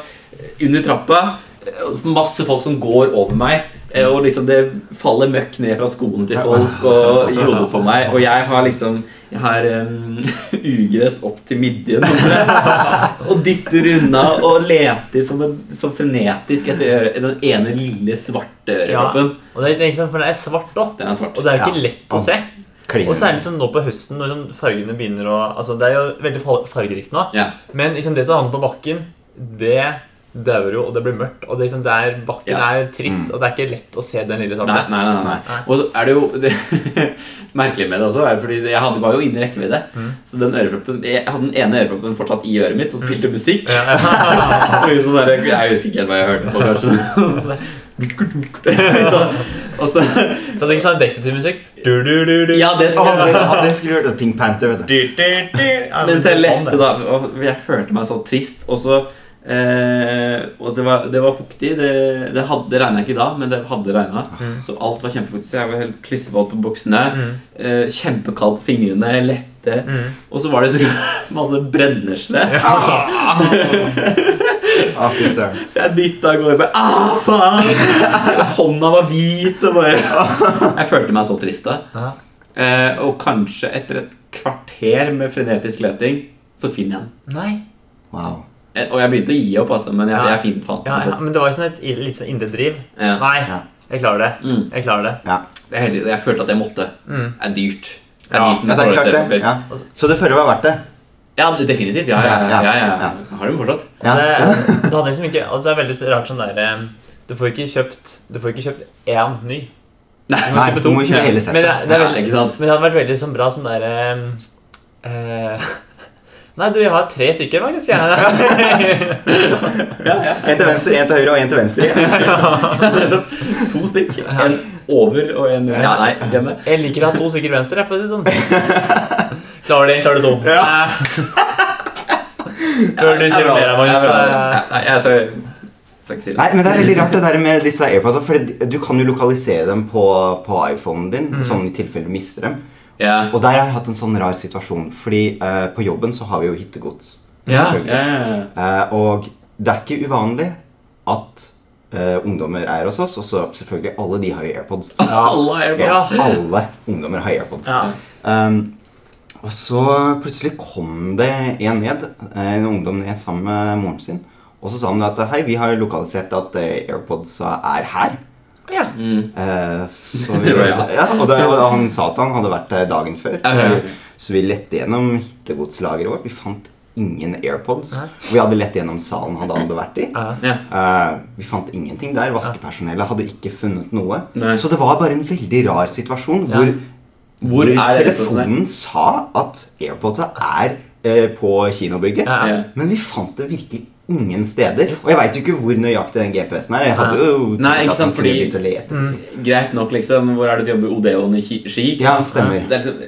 Speaker 1: under trappa eh, masse folk som går over meg. eh, Og liksom det faller møkk ned fra skoene til folk og i hodet på meg. Og jeg har liksom jeg har em, ugress opp til midjen omtrent, og dytter unna og leter som, en, som frenetisk etter øre, den ene lille svarte øreproppen.
Speaker 2: Og det er ikke sant, for det er svart òg.
Speaker 1: Den er svart.
Speaker 2: Og det er jo ikke
Speaker 3: Ja.
Speaker 2: lett å se.
Speaker 3: Klin.
Speaker 2: Og så er det liksom nå på høsten, når sånn fargene begynner å Altså, det er jo veldig far- fargerikt nå.
Speaker 1: Ja.
Speaker 2: Men liksom det som havner på bakken, det dauer jo, og det blir mørkt. Og det, liksom, det er, bakken
Speaker 1: Ja. Mm.
Speaker 2: er trist, og det er ikke lett å se den lille
Speaker 1: Nei,
Speaker 2: svarte.
Speaker 1: nei, nei, nei.
Speaker 3: Nei.
Speaker 1: Og så er det jo det, merkelig med det også, er fordi det- jeg hadde, var jo inne i rekkevidde.
Speaker 2: Mm.
Speaker 1: Så den øreproppen, jeg hadde den ene øreproppen fortsatt i øret mitt, som spilte musikk. Og liksom der, jeg husker ikke helt hva jeg hørte på, kanskje. Litt sånn. Og så
Speaker 2: Så det er ikke sånn detektivmusikk. Du, du, du, du.
Speaker 1: Ja, det
Speaker 3: Å,
Speaker 1: skulle jeg
Speaker 3: det, ja, det skulle vi hørt. Pink Panther, vet du.
Speaker 2: Du, du, du. Ja,
Speaker 1: Mens jeg
Speaker 2: det er sånn,
Speaker 1: lette,
Speaker 2: det.
Speaker 1: da. Og jeg følte meg så trist. Og så eh, Og det var, det var fuktig. Det, det hadde regna ikke da, men det hadde regna.
Speaker 2: Mm.
Speaker 1: Så alt var kjempefuktig. Så jeg var helt klissvåt på buksene.
Speaker 2: Mm.
Speaker 1: Eh, kjempekald på fingrene. Lette.
Speaker 2: Mm.
Speaker 1: Og så var det så klart masse brennesle.
Speaker 3: Ah, Ah, fy søren.
Speaker 1: Så jeg dytta av gårde. bare, Ah, faen! Hånda var hvit. Og bare. Jeg følte meg så trist da.
Speaker 2: Ja.
Speaker 1: Eh, og kanskje etter et kvarter med frenetisk leting, så finner jeg den.
Speaker 2: Nei.
Speaker 3: Wow.
Speaker 1: Eh, Og jeg begynte å gi opp, altså, men jeg,
Speaker 2: Ja.
Speaker 1: jeg fin, fant
Speaker 2: Ja, ja,
Speaker 1: den.
Speaker 2: men det var jo sånn et i- litt sånn indre driv.
Speaker 1: Ja.
Speaker 2: Nei,
Speaker 3: Ja.
Speaker 2: jeg klarer det.
Speaker 1: Mm.
Speaker 2: Jeg klarer det.
Speaker 3: Ja.
Speaker 1: Det er heldig. Jeg følte at jeg måtte.
Speaker 2: Mm.
Speaker 1: Det er dyrt. Det er
Speaker 2: Ja,
Speaker 1: dyrt
Speaker 3: Ja,
Speaker 1: med
Speaker 3: det er klart det.
Speaker 1: toalettpapir.
Speaker 3: Ja. Så du føler det var verdt det?
Speaker 1: Ja, definitivt. Ja, ja, ja. ja, ja. Jeg Har den fortsatt.
Speaker 3: Ja.
Speaker 2: det,
Speaker 3: så-
Speaker 2: det, hadde liksom ikke, altså det er veldig rart sånn der eh, Du får ikke kjøpt Du får ikke kjøpt én ny.
Speaker 3: Nei, du må kjøpe
Speaker 2: Men
Speaker 3: hele
Speaker 2: det,
Speaker 3: settet.
Speaker 2: det, er
Speaker 1: Ja,
Speaker 2: veldig,
Speaker 1: ikke sant?
Speaker 2: men det hadde vært veldig sånn bra sånn der eh, eh, Nei, du, jeg har tre stykker, faktisk. Jeg.
Speaker 3: En til venstre, en til høyre og en til venstre.
Speaker 1: To stykk. En over og en under. Ja, nei, glem det.
Speaker 2: jeg liker å ha to stykker venstre. Jeg, for å si det sånn. Klarer du én, klarer du to.
Speaker 3: Ja.
Speaker 2: Bør du
Speaker 1: Jeg er
Speaker 2: si
Speaker 1: bra.
Speaker 2: mer, Magnus?
Speaker 1: Jeg er bra. Ja, Nei, jeg skal, skal ikke si det.
Speaker 3: Nei, men det er veldig rart det der med disse airpods, for du kan jo lokalisere dem på, på iPhonen din,
Speaker 2: Mm.
Speaker 3: sånn i tilfelle du mister dem.
Speaker 1: Ja.
Speaker 3: Og der har jeg hatt en sånn rar situasjon, fordi eh, på jobben så har vi jo hittegods.
Speaker 1: Ja,
Speaker 3: selvfølgelig.
Speaker 1: ja, ja.
Speaker 3: Eh, og det er ikke uvanlig at eh, ungdommer er hos oss, og så selvfølgelig alle de har jo AirPods.
Speaker 1: Alle er bra.
Speaker 2: Ja.
Speaker 3: Alle ungdommer har AirPods.
Speaker 2: Ja.
Speaker 3: Um, og så plutselig kom det en ned, eh, en ungdom ned sammen med moren sin. Og så sa han at hei, vi har lokalisert at eh, AirPodsa er her.
Speaker 2: Ja.
Speaker 1: Mm.
Speaker 3: Eh, så vi,
Speaker 1: Ja.
Speaker 3: ja, og, da, og han sa at han hadde vært der dagen før.
Speaker 1: Ja, ja, ja.
Speaker 3: Så vi lette gjennom hittegodslageret vårt. Vi fant ingen AirPods.
Speaker 2: Nei.
Speaker 3: Og vi hadde lett gjennom salen han hadde vært i.
Speaker 2: Ja.
Speaker 1: Ja.
Speaker 3: Eh, vi fant ingenting der. Vaskepersonellet hadde ikke funnet noe.
Speaker 1: Nei.
Speaker 3: Så det var bare en veldig rar situasjon
Speaker 2: Ja.
Speaker 3: hvor
Speaker 1: Hvor er
Speaker 3: telefonen sa at AirPodsa er eh, på kinobygget.
Speaker 2: Ja.
Speaker 1: Ja.
Speaker 3: Men vi fant det virkelig ingen steder.
Speaker 2: Yes.
Speaker 3: Og jeg veit jo ikke hvor nøyaktig den GPS-en er. Jeg hadde jo trodd
Speaker 1: Nei, ikke
Speaker 3: at han
Speaker 1: sant,
Speaker 3: kunne
Speaker 1: fordi- Mm.
Speaker 3: begynt å lete.
Speaker 1: Greit nok, liksom. Hvor er det du jobber? Odeon i Ski? Ski, ikke
Speaker 3: Ja,
Speaker 1: sant?
Speaker 3: stemmer.
Speaker 1: Det er liksom,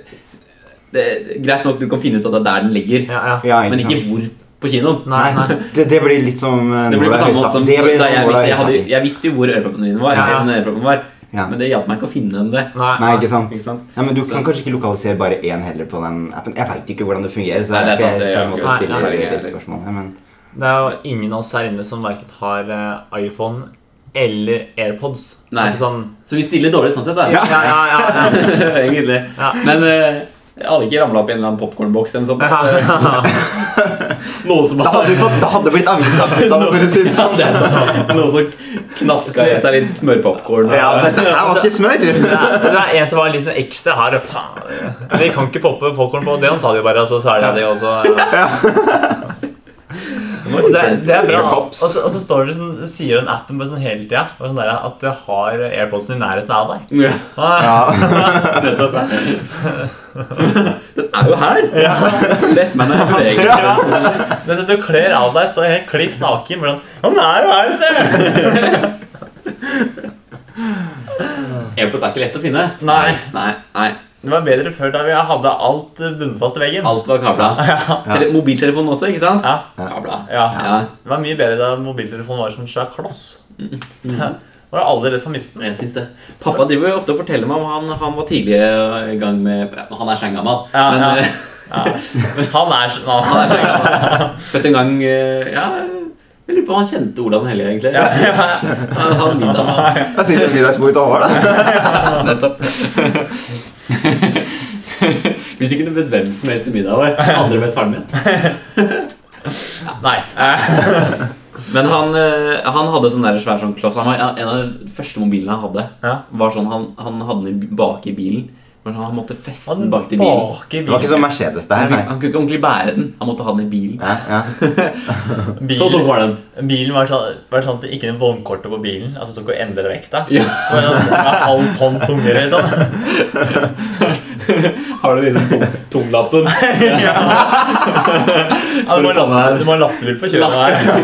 Speaker 1: det, greit nok, du kan finne ut at det er der den ligger,
Speaker 2: Ja, ja.
Speaker 3: Ja,
Speaker 1: men ikke hvor på kinoen.
Speaker 2: Nei, nei.
Speaker 3: Det, det blir litt som eh,
Speaker 1: Det blir på
Speaker 3: Nordahl
Speaker 1: samme
Speaker 3: Høysta-
Speaker 1: måte som
Speaker 3: det blir sånn
Speaker 1: da
Speaker 3: som
Speaker 1: jeg
Speaker 3: Nordahl
Speaker 1: visste, jeg, hadde,
Speaker 3: Høystakken.
Speaker 1: jeg visste jo hvor øreproppene mine var,
Speaker 2: Ja, ja.
Speaker 1: eller den øreproppen var,
Speaker 3: Ja.
Speaker 1: men det hjalp meg ikke å finne den det.
Speaker 2: Nei,
Speaker 3: Nei, ikke sant?
Speaker 1: Ikke sant?
Speaker 3: Nei, men Du
Speaker 1: Så-
Speaker 3: kan kanskje ikke lokalisere bare én heller på den appen. Jeg veit ikke hvordan det fungerer. så
Speaker 1: Nei, det er
Speaker 3: jeg skal
Speaker 1: sant, det
Speaker 3: på
Speaker 1: gjør
Speaker 3: en
Speaker 1: ikke
Speaker 3: måte
Speaker 2: det.
Speaker 3: stille
Speaker 1: Nei, nei,
Speaker 3: litt
Speaker 1: nei.
Speaker 3: spørsmål her, men
Speaker 2: Det er jo ingen av oss her inne som verken har eh, iPhone eller AirPods.
Speaker 1: Nei.
Speaker 2: Altså sånn
Speaker 1: Så vi stiller dårlig sånn sett, da.
Speaker 2: Ja, ja, ja. ja.
Speaker 1: Egentlig.
Speaker 2: Ja.
Speaker 1: Men eh, jeg hadde ikke ramla opp i en eller annen popkornboks eller noe sånt.
Speaker 2: ja.
Speaker 1: Noen som
Speaker 3: Da hadde
Speaker 1: hadde
Speaker 3: du fått, da hadde det blitt avisakutt av det, for å si det
Speaker 1: ja,
Speaker 3: sånn.
Speaker 1: det er sånn. Noen som knaska i seg litt smørpopkorn.
Speaker 3: Ja, dette her var ikke smør!
Speaker 2: Det er, det er en som var litt sånn ekstra hard. og Faen. Så vi kan ikke poppe popkorn på det. Han sa det jo bare, og så sa de det også.
Speaker 1: Nå
Speaker 2: Det, er- det er bra. Og
Speaker 3: Airpops.
Speaker 2: så, og så står det sånn, sier den appen bare sånn hele tida bare sånn der, at du har AirPodsen i nærheten av deg.
Speaker 1: Ja,
Speaker 2: Ah,
Speaker 3: Ja.
Speaker 1: nettopp. Den er jo her! Lett, men jeg beveger meg.
Speaker 2: Men så du kler av deg, så er du helt kliss naken. bare sånn, Han er jo her, ser du!
Speaker 1: Airpods er ikke lett å finne.
Speaker 2: Nei.
Speaker 1: Nei, nei.
Speaker 2: Det var bedre før, da vi hadde alt eh, bundet fast i veggen.
Speaker 1: Alt var kabla. Tele mobiltelefonen også, ikke sant?
Speaker 2: Ja.
Speaker 1: Kabla.
Speaker 2: Ja.
Speaker 1: Ja. Mm.
Speaker 2: Det var mye bedre da mobiltelefonen var som en svær kloss. Da var alle redd for å miste den.
Speaker 1: Jeg syns det. Pappa driver jo ofte og forteller meg om han, han var tidlig i gang med ja, Han er steingammal,
Speaker 2: Ja,
Speaker 1: men
Speaker 2: ja.
Speaker 1: eh,
Speaker 2: Ja. Han er sånn han
Speaker 1: han er
Speaker 2: er-
Speaker 1: steingammal. Født en gang eh, Ja, jeg lurer på om han kjente Olav den hellige, egentlig. Han, han middag med han.
Speaker 3: Da sitter vi middagsbordet til Håvard, da.
Speaker 1: Nettopp. Hvis du kunne bedt hvem som helst i middag vår, andre bedt faren min.
Speaker 2: Nei. eh,
Speaker 1: Men han, eh, han hadde sånn der svær sånn kloss. Han var en av de første mobilene han hadde.
Speaker 2: Ja.
Speaker 1: Var sånn, Han, han hadde den i- bak i bilen, men han måtte feste
Speaker 2: Han
Speaker 1: den bak i bilen.
Speaker 2: bak i
Speaker 3: Det var ikke
Speaker 2: bilen.
Speaker 3: sånn Mercedes det
Speaker 1: Han,
Speaker 3: her,
Speaker 1: kunne-
Speaker 3: nei.
Speaker 1: han kunne ikke ordentlig bære den. Han måtte ha den i bilen.
Speaker 3: Ja, ja.
Speaker 1: Så tung
Speaker 2: Bilen,
Speaker 1: var den.
Speaker 2: bilen var, sånn, var sånn at det ikke noe vognkortet på bilen. Altså tok å endre vekta.
Speaker 1: Ja.
Speaker 2: Det var sånn, det var halv tonn tungere, liksom.
Speaker 1: Har du liksom tung, tunglappen?
Speaker 2: Ja, du, må laste, du må ha lastebil for å kjøre den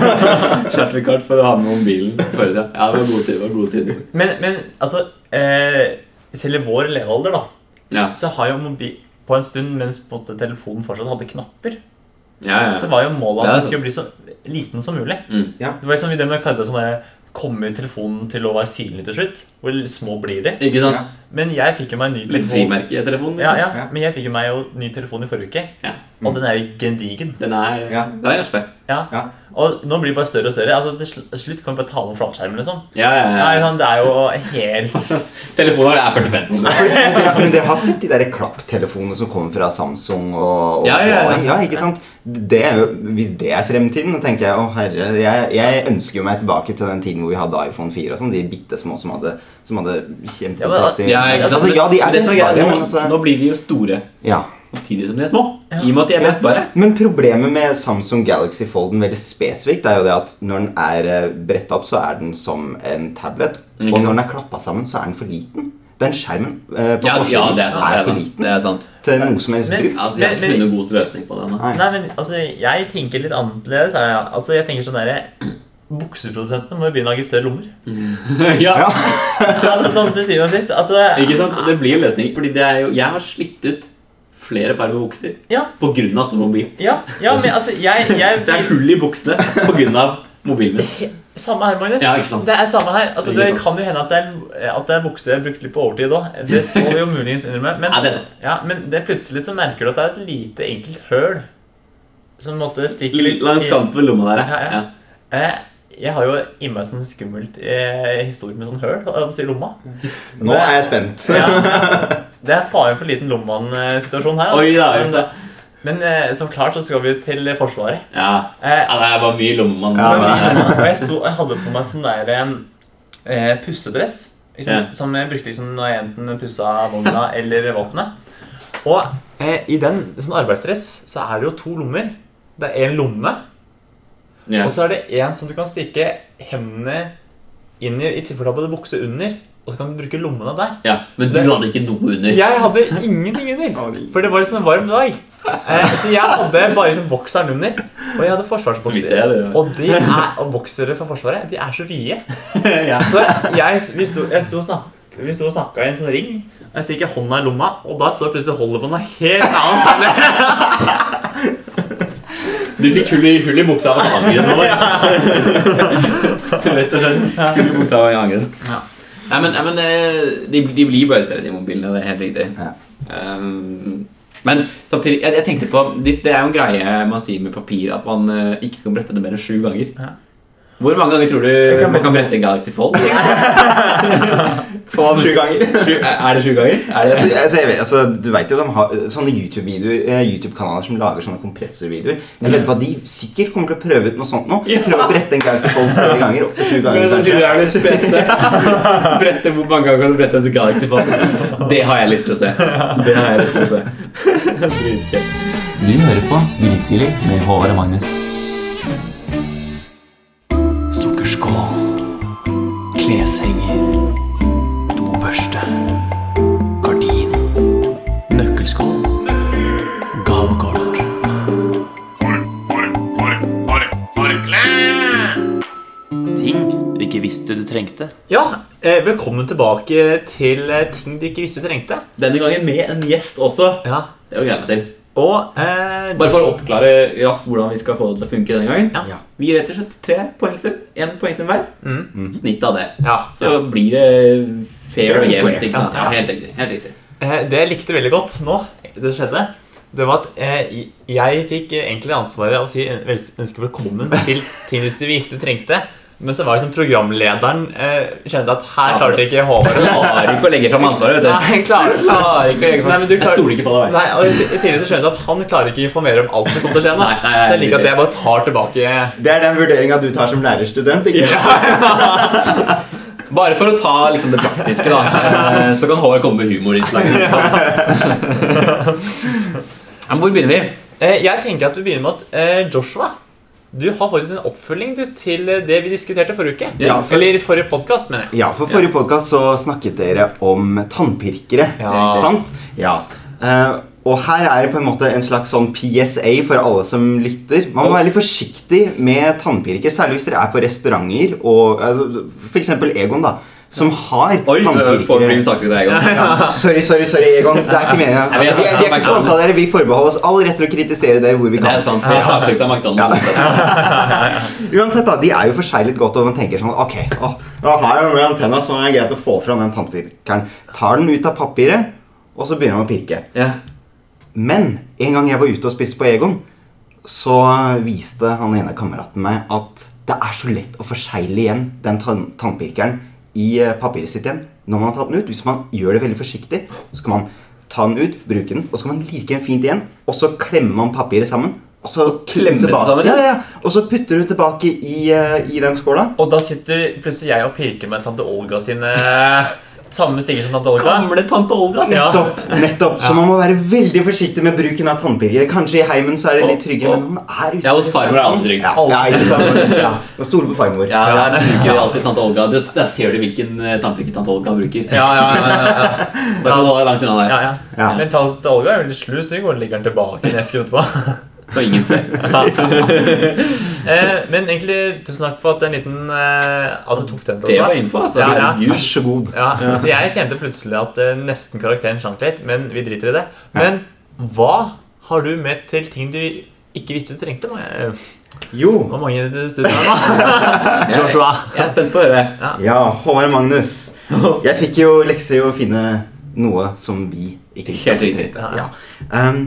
Speaker 2: her.
Speaker 1: Certifikat for å ha med mobilen. Før i tida. Ja, det var god tid. det var god tid.
Speaker 2: Men, men altså eh, Selv i vår levealder, da,
Speaker 1: Ja.
Speaker 2: så har jo mobil På en stund mens på en måte telefonen fortsatt hadde knapper,
Speaker 1: Ja, ja.
Speaker 2: så var jo målet
Speaker 1: Det er
Speaker 2: at den
Speaker 1: sant.
Speaker 2: skulle bli så liten som mulig.
Speaker 1: Mm.
Speaker 3: Ja.
Speaker 2: Det var liksom i det med Karda sånn der, Kommer telefonen til å være synlig til slutt? Hvor små blir de?
Speaker 1: Ikke sant?
Speaker 3: Ja.
Speaker 2: Men jeg fikk jo meg en ny
Speaker 1: Litt frimerke i telefonen. liksom.
Speaker 2: Ja, ja,
Speaker 3: Ja.
Speaker 2: Men jeg fikk jo meg jo ny telefon i forrige uke,
Speaker 1: Ja.
Speaker 2: og den er jo gedigen.
Speaker 1: Den er,
Speaker 3: Ja.
Speaker 1: den er svær.
Speaker 2: Ja.
Speaker 3: Ja.
Speaker 2: Og nå blir det bare større og større. Altså, Til sl- slutt kan vi bare ta med flatskjermen, liksom.
Speaker 1: Ja, ja,
Speaker 2: Nei,
Speaker 1: ja.
Speaker 2: sånn, det er jo helt
Speaker 1: Telefonen er liksom. 45 tommer.
Speaker 3: Dere, men dere har sett de der klapptelefonene som kommer fra Samsung og, og
Speaker 1: Ja, ja, ja.
Speaker 3: Huawei? ikke sant? Det er jo, hvis det er fremtiden, da tenker jeg å herre jeg, jeg ønsker jo meg tilbake til den tiden hvor vi hadde iPhone 4 og sånn. De bitte små som hadde, som hadde
Speaker 2: Ja, men-
Speaker 3: kjempeplass i
Speaker 1: Ja, ikke sant?
Speaker 3: altså, ja, de
Speaker 1: Men
Speaker 3: er
Speaker 1: det som er greit,
Speaker 3: dyrebare, men
Speaker 1: nå,
Speaker 3: altså
Speaker 1: nå blir de jo store
Speaker 3: ja.
Speaker 1: samtidig som de er små. I og med at de er brettbare.
Speaker 3: Men problemet med Samsung Galaxy Folden veldig spesifikt er jo det at når den er eh, bretta opp, så er den som en tablet.
Speaker 1: Ikke
Speaker 3: Og
Speaker 1: sant.
Speaker 3: når den er klappa sammen, så er den for liten. Den skjermen eh, på
Speaker 1: Ja,
Speaker 3: forsiden
Speaker 1: ja, det er sant. Det er
Speaker 3: for
Speaker 1: sant.
Speaker 3: liten
Speaker 1: Det er sant.
Speaker 3: til eh, noe som helst
Speaker 2: Men-
Speaker 3: bruk.
Speaker 1: Altså, de har ikke
Speaker 2: Men-
Speaker 1: funnet god løsning på det. nå.
Speaker 3: Nei.
Speaker 2: Nei, men altså, jeg tenker litt annerledes. er jeg. Altså, jeg tenker sånn derre Bukseprodusentene må jo begynne å lage større lommer.
Speaker 1: Ja,
Speaker 3: Ja.
Speaker 2: Altså, sånn til syvende og sist. Altså,
Speaker 1: ikke sant? Det blir en løsning. Fordi det er jo, jeg har slitt ut flere par med bukser
Speaker 2: ja,
Speaker 1: på grunn av stor mobil.
Speaker 2: ja, ja, men altså, jeg, jeg
Speaker 1: Så jeg har hull i buksene på grunn av mobilen min.
Speaker 2: Samme her, Magnus.
Speaker 1: Ja, ikke sant?
Speaker 2: Det er samme her. Altså,
Speaker 1: Ikke
Speaker 2: det
Speaker 1: sant?
Speaker 2: kan jo hende at det er, eh, at det er bukse jeg brukte litt på overtid òg. Det skal vi jo muligens innrømme. Men,
Speaker 1: Ja, det er sant.
Speaker 2: ja, men det er plutselig så merker du at det er et lite, enkelt høl som måtte stikke litt
Speaker 1: Langs
Speaker 2: i-
Speaker 1: kanten ved lomma der.
Speaker 2: Ja, ja.
Speaker 1: Ja.
Speaker 2: Eh, Jeg har jo i meg sånn skummelt eh, historie med sånn høl hva skal jeg si, i lomma.
Speaker 3: Nå er jeg spent.
Speaker 2: Ja. Det er faren for liten lommemann-situasjon her.
Speaker 1: Oi, da,
Speaker 2: men,
Speaker 1: uff da.
Speaker 2: men eh, som klart så skal vi til Forsvaret.
Speaker 1: Ja.
Speaker 2: Eh,
Speaker 1: ja, det er bare mye lommemann.
Speaker 3: Ja,
Speaker 1: men-
Speaker 2: og jeg, sto, jeg hadde på meg sånn der en eh, pussedress. Ikke sant?
Speaker 1: Ja.
Speaker 2: Som jeg brukte liksom når jeg enten pussa vogna eller våpenet. Og eh, i den sånn arbeidsdress så er det jo to lommer. Det er én lomme,
Speaker 1: Ja.
Speaker 2: og så er det én som du kan stikke hendene inn i i tilfelle du har på deg bukse under. Og så kan du bruke lommene der.
Speaker 1: ja. Men du hadde ikke noe under.
Speaker 2: Jeg hadde ingenting under, for det var liksom en varm dag. Eh, så jeg hadde bare liksom bokseren under, og
Speaker 1: Så vidt
Speaker 2: jeg hadde
Speaker 1: jeg
Speaker 2: forsvarsbokser.
Speaker 1: er det, ja.
Speaker 2: Og, de er, og boksere fra Forsvaret, de er så vide.
Speaker 1: Ja.
Speaker 2: Så jeg, vi sto, jeg sto og snak- vi sto og snakka i en sånn ring. og Jeg stikker hånda i lomma, og da så plutselig holderbånda helt annet.
Speaker 1: Du fikk hull i, hull i buksa av angeren nå. Rett og slett. Hull i buksa av angeren.
Speaker 2: Ja.
Speaker 1: Nei, men, nei, men eh, de, de blir bare større, de mobilene. Det er helt riktig.
Speaker 3: Ja.
Speaker 1: Um, men samtidig, jeg, jeg tenkte på Det det er jo en greie man sier med papir, at man eh, ikke kan brette det mer enn sju ganger.
Speaker 2: Ja.
Speaker 1: Hvor mange ganger tror du
Speaker 2: kan
Speaker 1: man kan brette en Galaxy Fold? Faen,
Speaker 3: Sju ganger.
Speaker 1: sju- er det sju ganger? Er
Speaker 3: Altså,
Speaker 1: det,
Speaker 3: altså, jeg vet, altså, du vet jo de har eh, sånne YouTube-videoer eh, YouTube-kanaler som lager sånne kompressorvideoer. Jeg vet hva de sikkert kommer til å prøve ut noe sånt nå. Prøve å brette en Galaxy Fold flere ganger. Opp til sju ganger
Speaker 1: Men så
Speaker 3: kanskje.
Speaker 1: sier du, er du spesiell? Brette, hvor mange ganger kan du brette en Galaxy Fold? Det har jeg lyst til å se. Det har jeg lyst til å se. Dritgøy.
Speaker 4: Du hører på Grytidlig med Håvard og Magnus. Sukkerskål. Kleshenger. Dobørste. Gardin. Nøkkelskål. Gavekort.
Speaker 5: Ting du ikke visste du trengte.
Speaker 2: Ja, eh, velkommen tilbake til eh, ting du ikke visste du trengte.
Speaker 1: Denne gangen med en gjest også.
Speaker 2: Ja,
Speaker 1: Det gleder jeg meg til.
Speaker 2: Og eh,
Speaker 1: Bare for å oppklare raskt hvordan vi skal få det til å funke denne gangen.
Speaker 2: Ja.
Speaker 3: Ja.
Speaker 1: Vi gir rett og slett tre poengsum. Én poengsum hver.
Speaker 2: Mm.
Speaker 1: Snitt av det.
Speaker 2: ja,
Speaker 1: Så blir det fair
Speaker 3: Fair
Speaker 1: og
Speaker 3: and
Speaker 1: jevnt.
Speaker 3: square.
Speaker 1: ikke sant?
Speaker 2: Ja.
Speaker 1: Ja, helt riktig. helt riktig.
Speaker 2: Eh, Det jeg likte veldig godt nå, det som skjedde, det var at eh, jeg fikk eh, egentlig ansvaret av å si eh, vel- ønske velkommen til ting hvis du visste du trengte. Men så var det som programlederen eh, kjente at her
Speaker 1: Ja,
Speaker 2: klarte ikke Håvard å
Speaker 1: Klarer ikke å legge fram ansvaret. vet du.
Speaker 2: Nei, klarer, klarer ikke å gjøre Nei, men du
Speaker 1: Jeg
Speaker 2: klarer-
Speaker 1: stoler ikke på deg.
Speaker 2: Nei, og i i tillegg så skjønte jeg at han klarer ikke å informere om alt som kommer til å skje. nå.
Speaker 1: Nei, nei, nei,
Speaker 2: så jeg liker at jeg bare tar tilbake
Speaker 3: Det er den vurderinga du tar som lærerstudent. ikke sant?
Speaker 1: Bare for å ta liksom, det praktiske, da, eh, så kan Håvard komme med humorinnslag. Men hvor begynner vi?
Speaker 2: Eh, Jeg tenker at vi begynner med at eh, Joshua, du har faktisk en oppfølging du, til eh, det vi diskuterte forrige uke.
Speaker 1: Ja,
Speaker 3: for-
Speaker 2: Eller forrige podkast, mener jeg.
Speaker 3: Ja, for forrige podkast så snakket dere om tannpirkere.
Speaker 2: Ja.
Speaker 3: Sant? Ja. Eh, og her er det på en måte en slags sånn PSA for alle som lytter. Man må være litt forsiktig med tannpirker, særlig hvis dere er på restauranter og altså, f.eks. Egon, da. som har
Speaker 1: Oi, øh, får bli
Speaker 3: tannpirkere.
Speaker 1: saksøkt av Egon.
Speaker 3: Ja. Sorry, sorry, sorry, Egon. Det er ikke meningen.
Speaker 1: Nei, men jeg
Speaker 3: Altså, vi, er- vi er ikke
Speaker 1: sa-
Speaker 3: sponset av dere. Vi forbeholder oss all rett til å kritisere dere hvor vi
Speaker 1: Det er
Speaker 3: kan.
Speaker 1: sant. Vi er saksøkt av McDonald's. sånn sett.
Speaker 3: Uansett, da, de er jo forseglet godt, og man tenker sånn Ok, å, da har jeg jo med antenna, så er det greit å få fram den tannpirkeren. Tar den ut av papiret, og så begynner man å pirke.
Speaker 1: Ja.
Speaker 3: Men en gang jeg var ute og spiste på Egon, så viste han ene kameraten meg at det er så lett å forsegle igjen den tann tannpirkeren i eh, papiret sitt igjen når man har tatt den ut. Hvis man gjør det veldig forsiktig, så kan man ta den ut, bruke den, og så kan man like den fint igjen, og så klemmer man papiret sammen. Og så
Speaker 1: klemme det
Speaker 3: tilbake-
Speaker 1: sammen, ja?
Speaker 3: Ja, ja, ja. Og så putter du tilbake i, eh, i den skåla.
Speaker 2: Og da sitter plutselig jeg og pirker med tante Olga sine eh, Samme stinger som tante Olga.
Speaker 1: Gamle tante Olga.
Speaker 2: Ja.
Speaker 3: Nettopp! nettopp Så man må være veldig forsiktig med bruken av tannpirkere. Kanskje i heimen så er det litt tryggere, men når man er ute
Speaker 1: Ja, hos farmor er det alltid trygt.
Speaker 3: Ja, ja, ikke sant? Ja. Man stoler på farmor.
Speaker 1: Ja, der bruker alltid tante Olga. Der der ser du hvilken eh, tannpirker tante Olga bruker.
Speaker 2: Ja, ja, ja, ja, ja.
Speaker 1: Så da kan du holde deg langt unna der.
Speaker 2: ja, ja.
Speaker 3: Ja.
Speaker 2: Men tante Olga er veldig slu, så vi går og legger den tilbake i esken etterpå.
Speaker 1: Og ingen ser.
Speaker 2: Eh, men egentlig, tusen takk for at, en liten, eh, at du tok den.
Speaker 1: Det var
Speaker 2: Rosa.
Speaker 1: info, altså.
Speaker 2: Ja, ja.
Speaker 1: Herregud.
Speaker 3: Vær så god.
Speaker 2: Ja, så Jeg kjente plutselig at eh, nesten karakteren sank litt, men vi driter i det. Men hva har du med til ting du ikke visste du trengte? Maja?
Speaker 3: Jo.
Speaker 2: Hvor mange studier er det nå? Joshua.
Speaker 1: Jeg er spent på å høre.
Speaker 3: Ja, Håvard Magnus. Jeg fikk jo lekse i å finne noe som vi ikke
Speaker 1: Helt riktig.
Speaker 3: Ja. Um,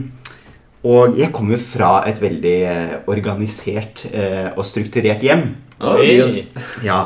Speaker 3: og jeg kommer jo fra et veldig eh, organisert eh, og strukturert hjem.
Speaker 1: Oi.
Speaker 3: Ja.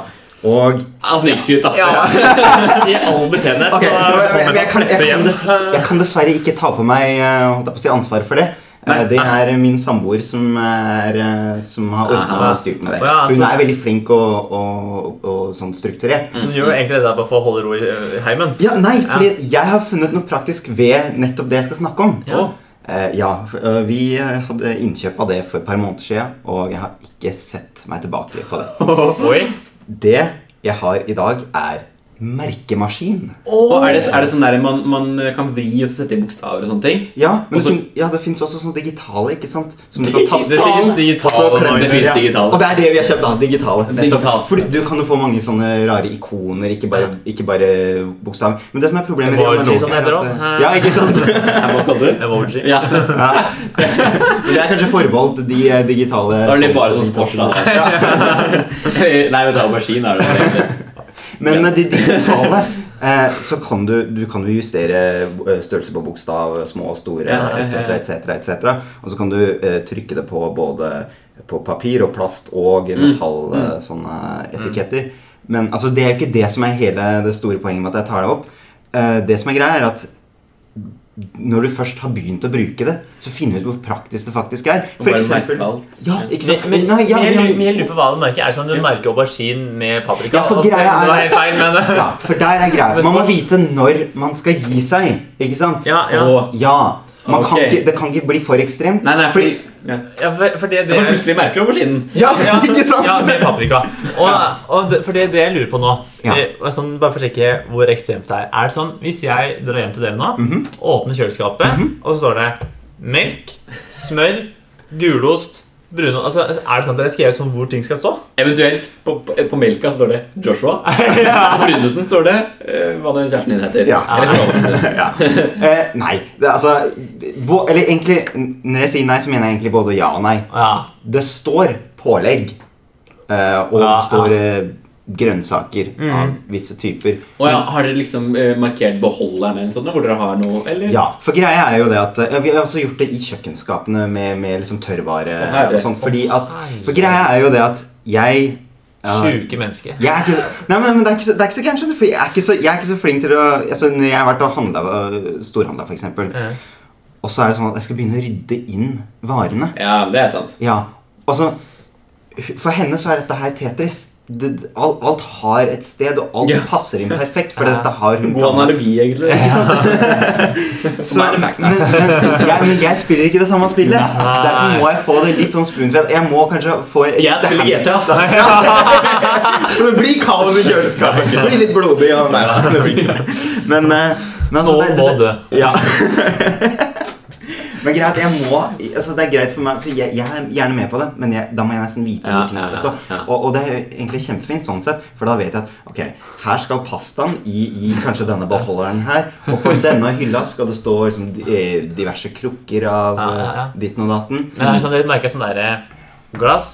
Speaker 3: Og
Speaker 1: Han snikskryter, da.
Speaker 2: Ja. I all beskjedenhet
Speaker 3: Ok,
Speaker 2: så
Speaker 3: nå- jeg, jeg,
Speaker 2: kommer
Speaker 3: jeg, kan,
Speaker 2: det
Speaker 3: jeg, kan
Speaker 2: frem.
Speaker 3: dess, jeg kan dessverre ikke ta på meg eh, holdt jeg på å si ansvaret for det. Eh,
Speaker 1: Nei.
Speaker 3: Det er min samboer som, er, eh, som har ordna
Speaker 1: Aha.
Speaker 3: og styrt med det.
Speaker 2: Å ja,
Speaker 3: For hun
Speaker 2: så- Mm.
Speaker 3: er veldig flink og, og, og sånn strukturert.
Speaker 2: Så du gjør egentlig det der bare for å holde ro i eh, heimen?
Speaker 3: Ja, nei, fordi jeg har funnet noe praktisk ved nettopp det jeg skal snakke om.
Speaker 2: Ja.
Speaker 3: Eh, ja, f- eh, Vi eh, hadde innkjøp av det for et par måneder siden, og jeg har ikke sett meg tilbake på det.
Speaker 2: Oi.
Speaker 3: Det jeg har i dag, er merkemaskin.
Speaker 1: Og er det, er det sånn der man, man kan vri og så sette i bokstaver og sånne ting?
Speaker 3: Ja, men det,
Speaker 1: Også-
Speaker 3: fin ja, det fins også sånne digitale, ikke sant? Som du kan taste
Speaker 2: Det
Speaker 3: inn.
Speaker 2: finnes digitale
Speaker 3: Og så klemmer
Speaker 1: Det
Speaker 3: du,
Speaker 1: finnes
Speaker 3: ja.
Speaker 1: digitale.
Speaker 3: Og det er det vi har kjøpt, da. Digitale. nettopp.
Speaker 1: Digitale.
Speaker 3: Fordi du kan jo få mange sånne rare ikoner, ikke bare, ikke bare bokstaver. Men det som er problemet
Speaker 2: Emoji,
Speaker 3: analoge
Speaker 2: som
Speaker 3: er
Speaker 2: det heter
Speaker 3: at-
Speaker 2: også.
Speaker 3: Ja, ikke sant?
Speaker 1: Hva kaller du?
Speaker 2: Emoji.
Speaker 1: Ja,
Speaker 3: Ja. Men Det er kanskje forbeholdt de eh, digitale
Speaker 1: Da er det bare sånn squash, da. Nei, men det er aubergine. Er det vel egentlig.
Speaker 3: Men eh, de digitale eh, så kan du, du kan jo justere eh, størrelse på bokstav, små og store,
Speaker 1: Ja, ja, ja.
Speaker 3: etc., etc., etc. Og så kan du eh, trykke det på både på papir og plast og
Speaker 1: Mm.
Speaker 3: metall, eh, sånne etiketter. Men altså, det er jo ikke det som er hele det store poenget med at jeg tar det opp. Eh, det som er greia, er at når du først har begynt å bruke det, så finner du ut hvor praktisk det faktisk er.
Speaker 1: Og bare merke alt.
Speaker 3: Ja, ikke sant?
Speaker 2: Men, men,
Speaker 3: Nei, ja,
Speaker 2: men jeg,
Speaker 3: vi har-
Speaker 2: lurer- men jeg lurer på hva du merker. Er det sånn at du merker aubergine med paprika?
Speaker 3: Ja, for
Speaker 2: Og så-
Speaker 3: greia er-
Speaker 2: Det var helt feil, men
Speaker 3: Ja, for der er greia. Man må vite når man skal gi seg, ikke sant?
Speaker 2: Ja, ja.
Speaker 1: Og,
Speaker 3: Ja. Man kan
Speaker 1: Ok.
Speaker 3: ikke, det kan ikke bli for ekstremt.
Speaker 1: nei, nei, fordi ja.
Speaker 2: ja, for, for det, det
Speaker 1: Jeg får plutselig merker auberginen.
Speaker 3: Ja, ikke sant?
Speaker 2: Ja, med paprika. Og, og det, for det, er det jeg lurer på nå
Speaker 3: Ja.
Speaker 2: eh, og sånn, Bare for å sjekke hvor ekstremt det er. Er det sånn, Hvis jeg drar hjem til dere nå, åpner kjøleskapet, og så står det melk, smør, gulost, brunost altså, Er det sånn at dere skrev sånn hvor ting skal stå?
Speaker 1: Eventuelt på, på, på melka så står det Joshua. På brynesen står det eh, hva den kjæresten din heter.
Speaker 3: Ja.
Speaker 1: Eller forloveden din.
Speaker 3: Ja. Eh, nei, det, er altså bo, Eller egentlig, n- når jeg sier nei, så mener jeg egentlig både ja og nei.
Speaker 2: Ja.
Speaker 3: Det står pålegg, eh, og
Speaker 2: Ja, Mm.
Speaker 3: det står eh, grønnsaker av visse typer.
Speaker 1: Og ja, Har dere liksom eh, markert beholderen eller sånn, hvor dere har noe? eller?
Speaker 3: Ja, for greia er jo det at eh, Vi har også gjort det i kjøkkenskapene med, med liksom tørrvare.
Speaker 1: Å, herre.
Speaker 3: og sånn, fordi at,
Speaker 2: herre.
Speaker 3: for greia er jo det at jeg eh,
Speaker 2: Sjuke mennesker.
Speaker 3: jeg er ikke, nei, men, men det er ikke så, det er ikke så gærent, skjønner du, for jeg er ikke så, jeg er ikke så flink til å altså, Når jeg har vært og øh, handla, storhandla, f.eks.,
Speaker 2: Mhm.
Speaker 3: og så er det sånn at jeg skal begynne å rydde inn varene
Speaker 1: ja, det er sant.
Speaker 3: Ja, altså For henne så er dette her Tetris. Det, alt, alt har et sted, og alt
Speaker 1: Ja.
Speaker 3: passer inn perfekt, for dette har hun
Speaker 1: God
Speaker 3: planlagt.
Speaker 1: analogi, egentlig. Ikke sant?
Speaker 3: Så,
Speaker 1: Nei, det
Speaker 3: men,
Speaker 1: merker
Speaker 3: men, jeg, men jeg spiller ikke det samme spillet. Derfor må jeg få det litt sånn spoonfed. Jeg må kanskje få et-
Speaker 1: Jeg spiller GTA.
Speaker 3: Så det blir kaos i kjøleskapet. Det blir litt blodig. Og nei, da, det blir ikke det. Men, eh, men altså,
Speaker 2: Nå
Speaker 3: det-
Speaker 2: må
Speaker 3: det-
Speaker 2: dø.
Speaker 3: Ja. Men greit, jeg må altså Det er greit for meg, så jeg, jeg er gjerne med på det, men jeg, da må jeg nesten vite
Speaker 1: Ja,
Speaker 3: hvor ting
Speaker 1: ja,
Speaker 3: skal
Speaker 1: ja,
Speaker 3: stå.
Speaker 1: ja.
Speaker 3: Og, og det er egentlig kjempefint sånn sett, for da vet jeg at ok, her skal pastaen i, i kanskje denne beholderen her, og på denne hylla skal det stå liksom, di- eh, diverse krukker av
Speaker 2: Ja, ja, ja.
Speaker 3: eh, ditten og datten.
Speaker 2: Men det er sånn, jeg merker sånn der eh, glass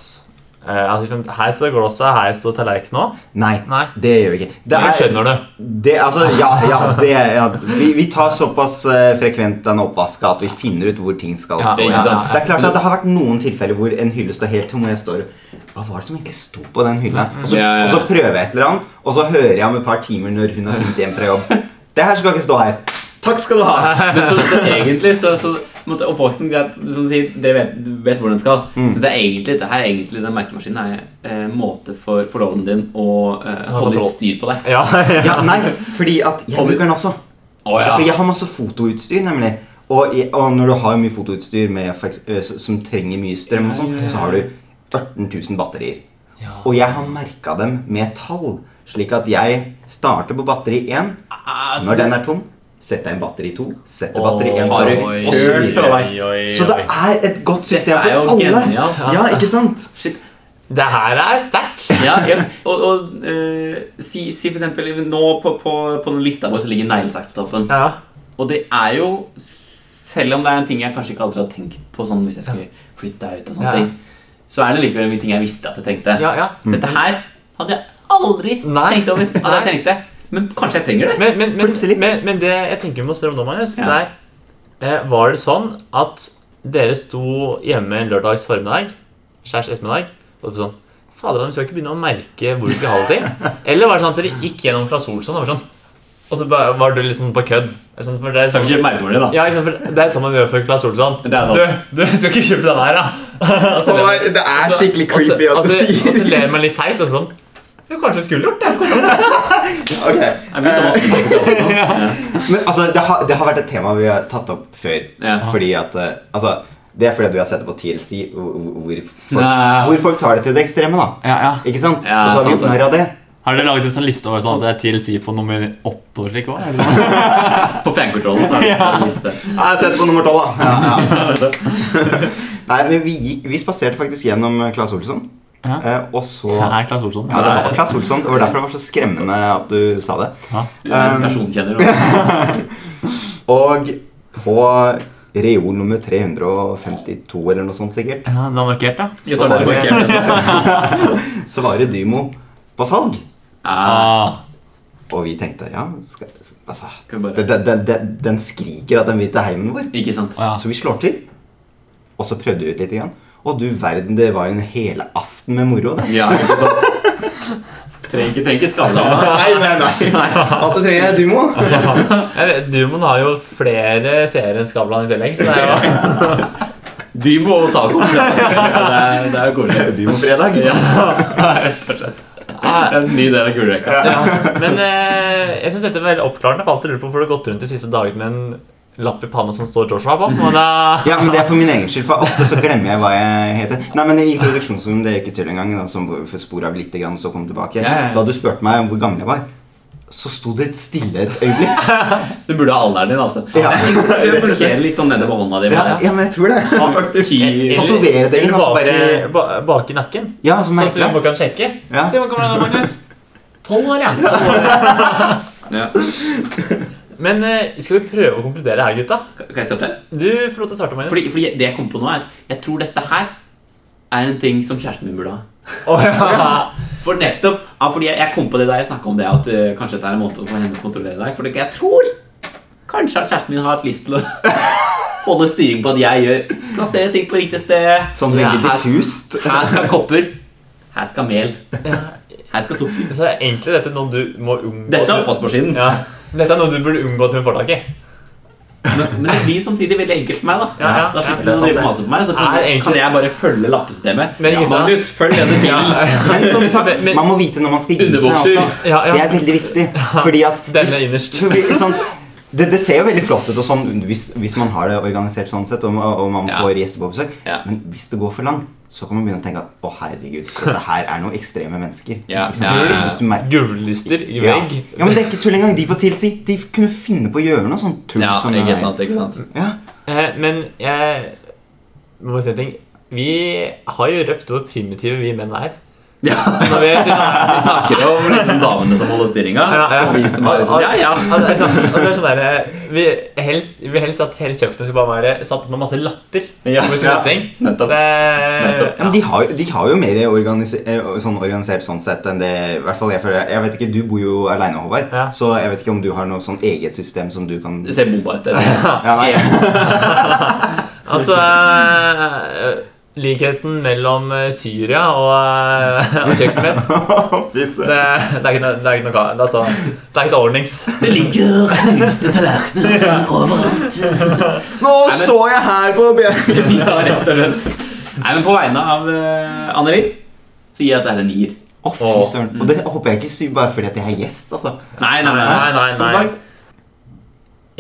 Speaker 2: eh, altså, liksom, Her står glasset, her står tallerkenen òg.
Speaker 3: Nei,
Speaker 2: Nei.
Speaker 3: det gjør vi ikke. Det
Speaker 2: Jeg
Speaker 3: er-
Speaker 2: skjønner det.
Speaker 3: Det, altså, ja, ja, det, ja. Vi, vi tar såpass eh, frekvent den oppvaska at vi finner ut hvor ting skal
Speaker 2: Ja,
Speaker 3: stå.
Speaker 1: ikke
Speaker 3: Ja.
Speaker 1: sant?
Speaker 3: Det er klart at det har vært noen tilfeller hvor en hylle står helt tom, og jeg står Hva var det som egentlig sto på den hylla? Og så,
Speaker 1: Ja, ja, ja.
Speaker 3: og så prøver jeg et eller annet, og så hører jeg om et par timer når hun har kommet hjem fra jobb. Det her skal ikke stå her. Takk skal du ha.
Speaker 1: Men så, så egentlig så, så måtte oppvoksen greit, som du sier, dere vet, du vet hvor den skal.
Speaker 3: Mm.
Speaker 1: Det er egentlig, det her er egentlig den merkemaskinen er eh, måte for forloveden din å eh, holde
Speaker 2: kontroll.
Speaker 1: litt styr på deg.
Speaker 2: Ja,
Speaker 3: Ja, nei, fordi at jeg
Speaker 1: Og vi-
Speaker 3: bruker den også.
Speaker 1: Å,
Speaker 3: Fordi
Speaker 1: ja.
Speaker 3: jeg har masse fotoutstyr, nemlig. Og, i- og når du har mye fotoutstyr med, for eks- ø, s- som trenger mye strøm, og sånn, så har du 18 000 batterier. Og jeg har merka dem med tall, slik at jeg starter på batteri 1.
Speaker 1: Ah, så det-
Speaker 3: Når den er tom, setter jeg inn batteri 2, setter batteri 1
Speaker 1: har du
Speaker 3: på, og så
Speaker 1: hørt
Speaker 3: videre.
Speaker 1: om
Speaker 3: Så det er et godt system
Speaker 1: Dette er jo
Speaker 3: for alle.
Speaker 1: genialt.
Speaker 3: Ja, ikke sant?
Speaker 1: Shit.
Speaker 2: det her er sterkt.
Speaker 1: Ja, ja. Og, og eh, si, si for eksempel Nå på, på, på den lista vår så ligger neglesaks på toppen.
Speaker 2: Ja.
Speaker 1: Og det er jo Selv om det er en ting jeg kanskje ikke aldri har tenkt på sånn hvis jeg skulle flytte ut, og sånne
Speaker 2: Ja.
Speaker 1: ting, så er det likevel en ting jeg visste at jeg trengte.
Speaker 2: Ja, ja.
Speaker 1: Dette her hadde jeg aldri
Speaker 2: Nei.
Speaker 1: tenkt over at jeg trengte. Men kanskje jeg trenger det.
Speaker 2: Men, men, men,
Speaker 3: Plutselig.
Speaker 2: men, men det jeg tenker vi må spørre om nå, Magnus,
Speaker 1: Ja.
Speaker 2: det er eh, Var det sånn at dere sto hjemme en lørdags formiddag, skjærs ettermiddag, og sånn Fader, vi skal ikke begynne å merke hvor vi skal ha det til. Eller var det sånn at dere gikk gjennom Claes Olsson og var sånn Og så ba- var du liksom på kødd. Sånn, for det er sånn,
Speaker 1: kjøpe merkevare, da.
Speaker 2: ja, ikke sant, for det er sånn man gjør for Claes Olsson.
Speaker 1: Det er sant.
Speaker 2: Du, du skal ikke kjøpe den her, da! Og så ler-
Speaker 3: Det er
Speaker 1: Altså,
Speaker 3: skikkelig
Speaker 2: og så-
Speaker 3: creepy at
Speaker 2: og
Speaker 3: du
Speaker 2: så- Og så
Speaker 3: sier
Speaker 2: ler man litt teit. og så sånn Jo, kanskje vi skulle gjort det.
Speaker 3: Ok,
Speaker 1: Jeg blir sånn ofte på det også.
Speaker 3: Men altså, det har, det har vært et tema vi har tatt opp før.
Speaker 1: Ja.
Speaker 3: Fordi at eh, Altså, det er fordi at vi har sett det på TLC, hvor, hvor, folk,
Speaker 1: Nei.
Speaker 3: hvor folk tar det til det ekstreme, da.
Speaker 6: Ja, ja.
Speaker 3: Ikke sant?
Speaker 1: Ja,
Speaker 3: Og så har vi
Speaker 1: sant
Speaker 3: gjort
Speaker 1: det.
Speaker 3: narr av det.
Speaker 6: Har dere laget en sånn liste over sånn at det er TLC på nummer åtte og slik også?
Speaker 1: På fankontrollen, så er det en liste.
Speaker 3: Ja, jeg setter på nummer tolv, da. Ja, ja. Nei, men vi, gikk, vi spaserte faktisk gjennom eh, Claes Olsson.
Speaker 6: Ja.
Speaker 3: eh, og så
Speaker 6: Det
Speaker 3: Ja,
Speaker 6: er Klaas
Speaker 2: sånn.
Speaker 6: Olsson.
Speaker 3: det var Claes Olsson. Det var derfor det var så skremmende at du sa det.
Speaker 1: Du er
Speaker 2: Um,
Speaker 1: en personkjenner. da.
Speaker 3: Og på reol nummer 352 eller noe sånt, sikkert,
Speaker 6: Ja, den er markert, da.
Speaker 1: Jeg sa det på kødd.
Speaker 3: så var det Dymo på salg.
Speaker 1: Ja,
Speaker 6: Ah,
Speaker 3: Og vi tenkte ja, skal, altså,
Speaker 1: Skal vi bare-
Speaker 3: den, den, den- den, den skriker at den vil til heimen vår.
Speaker 1: Ikke sant?
Speaker 6: ja.
Speaker 3: Så vi slår til. Og så prøvde vi ut litt. Igjen. Og du verden, det var jo en hele aften med moro. Det.
Speaker 1: Ja, ikke sant? Trenger ikke, trenger ikke skade av meg.
Speaker 3: Nei, nei, nei. At du trenger du må.
Speaker 2: Jeg vet, Dumoen har jo flere seere enn Skavlan i tillegg, så det er jo
Speaker 1: Dymo og taco. men Det er, det er jo koselig.
Speaker 3: Du må fredag.
Speaker 1: Ja, rett og slett. En ny del av gullrekka.
Speaker 2: Ah, Men eh, jeg syns dette er veldig oppklarende, for alltid lurer på hvorfor du har gått rundt de siste dagene med en lapp i panna som står Joshua på. Men da,
Speaker 3: Ja, men Det er for min egen skyld, for ofte så glemmer jeg hva jeg heter. Nei, men I introduksjonsrommet det er ikke tull engang, da, som spor av litt, grann, så kom tilbake.
Speaker 1: Ja, ja, ja.
Speaker 3: Da du spurte meg om hvor gammel jeg var, så sto det stille et øyeblikk.
Speaker 1: Så du burde ha alderen din, altså.
Speaker 3: Ja.
Speaker 1: Du Markere litt sånn nedover hånda di.
Speaker 3: Ja,
Speaker 1: bare.
Speaker 3: ja, men jeg tror det. faktisk.
Speaker 1: Ti-
Speaker 3: Tatovere det inn,
Speaker 2: eller
Speaker 3: og så
Speaker 2: bak,
Speaker 3: bare
Speaker 2: i- ba, bak i nakken.
Speaker 3: Ja, altså, så
Speaker 2: Sånn at
Speaker 3: merker
Speaker 2: vi
Speaker 3: jeg.
Speaker 2: bare kan sjekke.
Speaker 3: Ja.
Speaker 2: Se hvor gammel han er, Magnus. Tolv år, ja. 12 år.
Speaker 1: Ja.
Speaker 2: Men eh, skal vi prøve å konkludere her, gutta?
Speaker 1: Kan jeg starte?
Speaker 2: Du får lov til å starte, Magnus.
Speaker 1: Fordi, fordi det jeg kom på nå, er at jeg tror dette her er en ting som kjæresten min burde ha.
Speaker 2: Å, ja.
Speaker 1: For nettopp, ja, fordi jeg, jeg kom på det da jeg snakket om det, at eh, kanskje dette er en måte å få henne til å kontrollere deg. For det, jeg tror kanskje at kjæresten min har hatt lyst til å holde styring på at jeg gjør plasserer ting på riktig sted.
Speaker 3: Sånn veldig
Speaker 1: her,
Speaker 3: diffust.
Speaker 1: her skal kopper. Her skal mel. Her skal sukker.
Speaker 2: Så er egentlig dette noe du må unngå
Speaker 1: Dette er oppvaskmaskinen.
Speaker 2: Ja. Dette er noe du burde unngå at hun får tak i.
Speaker 1: Men, men det blir samtidig veldig enkelt for meg. Da
Speaker 2: Ja, ja,
Speaker 1: Da slipper
Speaker 3: ja,
Speaker 1: hun å
Speaker 3: det
Speaker 1: drive
Speaker 3: er sant,
Speaker 1: og mase på meg, så kan,
Speaker 2: Er egentlig-
Speaker 1: kan jeg bare følge lappesystemet.
Speaker 2: Men gutta-
Speaker 1: Magnus, følg denne bilen.
Speaker 3: Men som sagt,
Speaker 2: Men-
Speaker 3: man må vite når man skal gi seg.
Speaker 1: Underbukser.
Speaker 3: Også.
Speaker 2: Ja, ja.
Speaker 3: Det er veldig viktig. Fordi at
Speaker 2: Den er innerst.
Speaker 3: så vi- sånn, det, det ser jo veldig flott ut og sånn, hvis, hvis man har det organisert sånn sett, og, og man
Speaker 1: Ja.
Speaker 3: får gjester på besøk,
Speaker 1: Ja.
Speaker 3: men hvis det går for langt, så kan man begynne å tenke at å herregud, dette her er noen ekstreme mennesker.
Speaker 1: Ja,
Speaker 3: Ikke sant?
Speaker 1: ja, ja, ja.
Speaker 3: Hvis du merker
Speaker 2: Gulvlister i
Speaker 3: ja.
Speaker 2: vegg.
Speaker 3: ja, men det er ikke tull engang. De på TLC de kunne finne på å gjøre noe sånt tull.
Speaker 1: Ja, sånn,
Speaker 3: som det
Speaker 1: ikke
Speaker 3: her.
Speaker 1: sant, ikke sant
Speaker 3: Ja.
Speaker 2: Eh, men jeg må bare si en ting. Vi har jo røpt hvor primitive vi menn er.
Speaker 1: Ja,
Speaker 2: Når vi,
Speaker 1: Vi snakker om liksom damene som holder styringa,
Speaker 2: Ja, ja.
Speaker 1: og vi som er litt sånn Ja, ja.
Speaker 2: Altså, det er sånn, og det er sånn der, eh, vi, helst, vi vil helst at hele kjøkkenet skal bare være satt opp med masse lapper.
Speaker 1: Ja,
Speaker 2: Hvor
Speaker 1: ja.
Speaker 2: setting.
Speaker 1: Nettopp.
Speaker 2: Det,
Speaker 1: Nettopp.
Speaker 3: Ja, men de har, jo- de har jo mer organise- eh, sånn organisert sånn sett enn det i hvert fall jeg føler. Jeg vet ikke, Du bor jo aleine, Håvard,
Speaker 2: Ja.
Speaker 3: så jeg vet ikke om du har noe sånn eget system som du kan
Speaker 1: Det ser bomba ut. eller?
Speaker 3: ja, nei.
Speaker 2: Altså eh, Likheten mellom eh, Syria og, eh, og kjøkkenet mitt
Speaker 3: Fy søren.
Speaker 2: det, det, er ikke noe, det er ikke noe ga- det er, sånn, det er ikke noe ordnings.
Speaker 1: Det ligger knuste tallerkener overalt.
Speaker 3: Nå
Speaker 1: Nei, men-
Speaker 3: står jeg her på bjørken!
Speaker 1: Ja, rett og slett. Nei, men på vegne av uh, Anneli så gir jeg dette her en nier.
Speaker 3: Å, fy
Speaker 2: Åh.
Speaker 3: søren. Og det håper jeg ikke sier bare fordi at jeg er gjest, altså.
Speaker 1: Nei, nei, nei.
Speaker 2: Nei, nei,
Speaker 1: Som
Speaker 2: nei.
Speaker 1: sagt.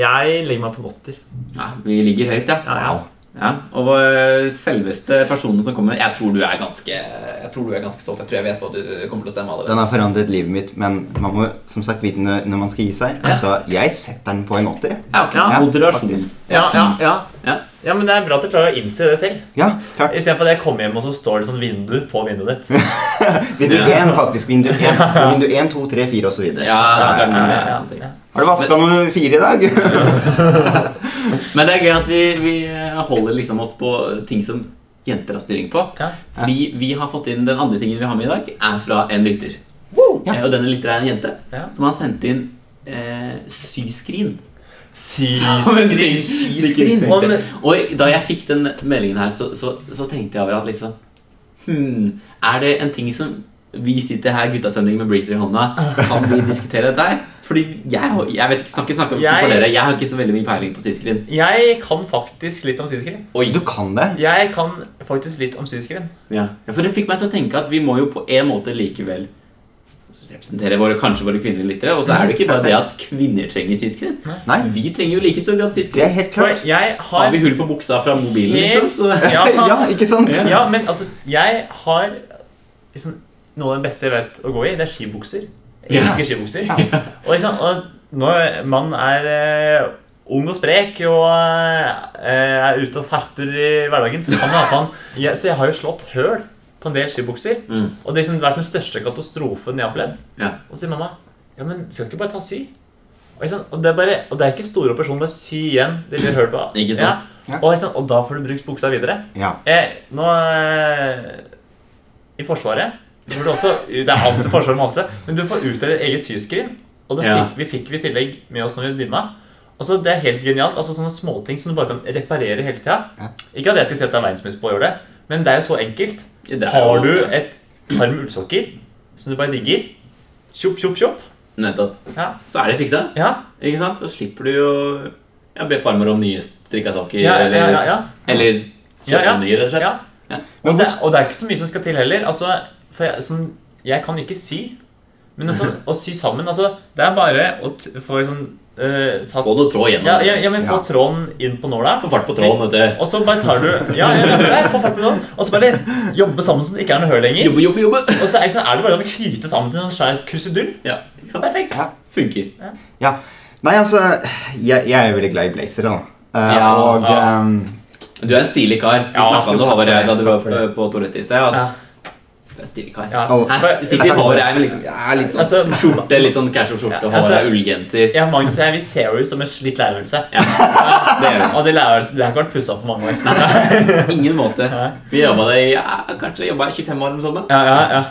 Speaker 2: Jeg legger meg på en åtter.
Speaker 1: Ja, vi ligger høyt, ja.
Speaker 2: Ja, ja.
Speaker 1: ja. Og vår selveste personen som kommer Jeg tror du er ganske Jeg tror du er ganske stolt. Jeg tror jeg vet hva du kommer til å stemme.
Speaker 3: Den
Speaker 1: allerede.
Speaker 3: har forandret livet mitt, men man må som sagt vite når når man skal gi seg. Så jeg setter den på en åtter. jeg.
Speaker 1: Ja, ok.
Speaker 3: Ja,
Speaker 1: Moderasjon.
Speaker 3: faktisk.
Speaker 2: Ja, ja, ja.
Speaker 1: Ja.
Speaker 2: ja, men det er bra at du klarer å innse det selv.
Speaker 3: Ja, klart.
Speaker 2: Istedenfor at jeg kommer hjem, og så står det sånn vindu på vinduet ditt.
Speaker 3: Vindu
Speaker 1: Ja.
Speaker 3: 1, faktisk. Vindu 1, vindu 1 2, 3, 4 osv.
Speaker 1: Ja, så
Speaker 3: Har
Speaker 1: kan det være
Speaker 2: ja.
Speaker 1: sånne ting.
Speaker 3: du vaska nummer fire i dag?
Speaker 1: Men det er gøy at vi, vi holder liksom oss på ting som jenter har styring på.
Speaker 2: Ja.
Speaker 1: Fordi vi har fått inn den andre tingen vi har med i dag, er fra en lytter.
Speaker 3: Ja.
Speaker 1: Eh, Og denne lytter er en jente
Speaker 2: Ja.
Speaker 1: som har sendt inn eh, syskrin. Som en ting.
Speaker 2: Syskrin.
Speaker 1: Syskrin.
Speaker 2: Og men-
Speaker 1: Og da jeg fikk den meldingen her, så, så, så tenkte jeg over at liksom hmm, Er det en ting som vi sitter her, guttasending med breezer i hånda, kan vi diskutere dette her? Fordi jeg, har- jeg vet ikke, skal ikke snakke om
Speaker 2: Jeg-
Speaker 1: for dere. Jeg har ikke så veldig mye peiling på syskrin.
Speaker 2: Jeg kan faktisk litt om syskrin.
Speaker 1: Oi.
Speaker 3: Du kan det.
Speaker 2: Jeg kan faktisk litt om syskrin.
Speaker 1: Ja. ja, for det fikk meg til å tenke at vi må jo på en måte likevel representere våre, kanskje våre kvinnelige lyttere. Og så er det ikke bare det at kvinner trenger syskrin.
Speaker 3: Nei,
Speaker 1: Vi trenger jo i like stor grad
Speaker 3: det
Speaker 1: syskrin.
Speaker 3: er helt
Speaker 2: For
Speaker 3: klart.
Speaker 2: jeg
Speaker 1: Har
Speaker 2: har
Speaker 1: vi hull på buksa fra mobilen, liksom? Så
Speaker 2: Ja,
Speaker 3: Ja, ikke sant?
Speaker 2: ja, men altså, jeg har liksom, noe av det beste jeg vet å gå i, det er skibukser. Jeg
Speaker 1: Ja.
Speaker 2: elsker skibukser. Og, liksom, og når man er eh, ung og sprek og eh, er ute og ferter i hverdagen, så kan man ha på den. Jeg, så jeg har jo slått høl på en del skibukser.
Speaker 1: Mm.
Speaker 2: Og det har liksom vært den største katastrofen jeg har opplevd.
Speaker 1: Ja.
Speaker 2: Og så sier mamma Ja, men skal du ikke bare ta sy? Og, ikke sant? og, det, er bare, og det er ikke store operasjoner, bare sy igjen. Det blir høl på.
Speaker 1: Ikke sant?
Speaker 2: Ja. Og, ikke sant? og da får du brukt buksa videre.
Speaker 3: Ja.
Speaker 2: Eh, nå eh, I Forsvaret du burde også, Det er alltid forsvar med alt det, men du får utdelt eget syskrin. Og det
Speaker 1: Ja.
Speaker 2: fikk, vi fikk vi i tillegg med oss når vi dimma. Altså, det er helt genialt. altså Sånne småting som du bare kan reparere hele tida.
Speaker 3: Ja.
Speaker 2: Ikke at jeg skal sette deg verdensmester på å gjøre det, men det er jo så enkelt.
Speaker 1: Det er
Speaker 2: Har
Speaker 1: jo-
Speaker 2: du et par med ullsokker som du bare digger, tjopp, tjopp, tjopp
Speaker 1: Nettopp.
Speaker 2: Ja.
Speaker 1: Så er det fiksa.
Speaker 2: ja,
Speaker 1: Ikke sant? Så slipper du å ja, be farmor om nye strikka sokker,
Speaker 2: ja,
Speaker 1: eller, Altså,
Speaker 2: ja, ja, ja.
Speaker 1: eller kjøpe
Speaker 2: Ja, ja.
Speaker 1: nye, rett og slett.
Speaker 2: Ja.
Speaker 1: Ja.
Speaker 2: Og,
Speaker 3: Men
Speaker 2: det,
Speaker 3: hvor-
Speaker 2: og det er ikke så mye som skal til heller. Altså, for jeg, sånn, jeg kan ikke sy, men altså, å sy sammen altså, Det er bare å t få sånn eh, tatt,
Speaker 1: Få noe tråd gjennom.
Speaker 2: ja, ja, ja, men få
Speaker 3: Ja.
Speaker 2: tråden inn på nåla.
Speaker 1: Få fart på tråden, vet du.
Speaker 2: Og så bare tar du Ja, ja, ja, ja, få fart på nålen, og så bare jobbe sammen så det ikke er noe høl lenger.
Speaker 1: Jobbe, jobbe, jobbe.
Speaker 2: Og så er, ikke sant, er det bare å knyte sammen til en sånn svær krusedull.
Speaker 1: Ja, ikke sant?
Speaker 2: Perfekt.
Speaker 3: Ja.
Speaker 1: Funker.
Speaker 3: ja. Nei, altså jeg, jeg er jo veldig glad i blazere, da. Eh,
Speaker 1: Ja,
Speaker 3: og
Speaker 2: ja.
Speaker 3: ehm,
Speaker 1: Du er en stilig kar. Vi
Speaker 2: Ja,
Speaker 1: snakka om
Speaker 3: jo,
Speaker 1: det
Speaker 3: takk
Speaker 1: Håvard og jeg
Speaker 3: for
Speaker 1: da du
Speaker 3: det,
Speaker 1: var
Speaker 3: takk for det.
Speaker 1: på toalettet i sted. at
Speaker 2: Ja,
Speaker 1: Du er en stilig kar.
Speaker 2: ja.
Speaker 3: Å.
Speaker 1: Her sitter Håvard og jeg med liksom, jeg er litt sånn
Speaker 2: Altså,
Speaker 1: skjorte, litt sånn casual skjorte,
Speaker 2: Ja,
Speaker 1: Håvard
Speaker 2: altså-
Speaker 1: er ullgenser.
Speaker 2: Ja, Magnus og jeg vi ser jo ut som en slitt lærerværelse.
Speaker 1: Ja, det gjør vi.
Speaker 2: Og det lærerværelset det har ikke vært pussa opp på mange år.
Speaker 1: På ingen måte. Vi jobba der i ja, kanskje jobba i 25 år eller noe sånt.
Speaker 2: Ja, ja, ja.
Speaker 1: da.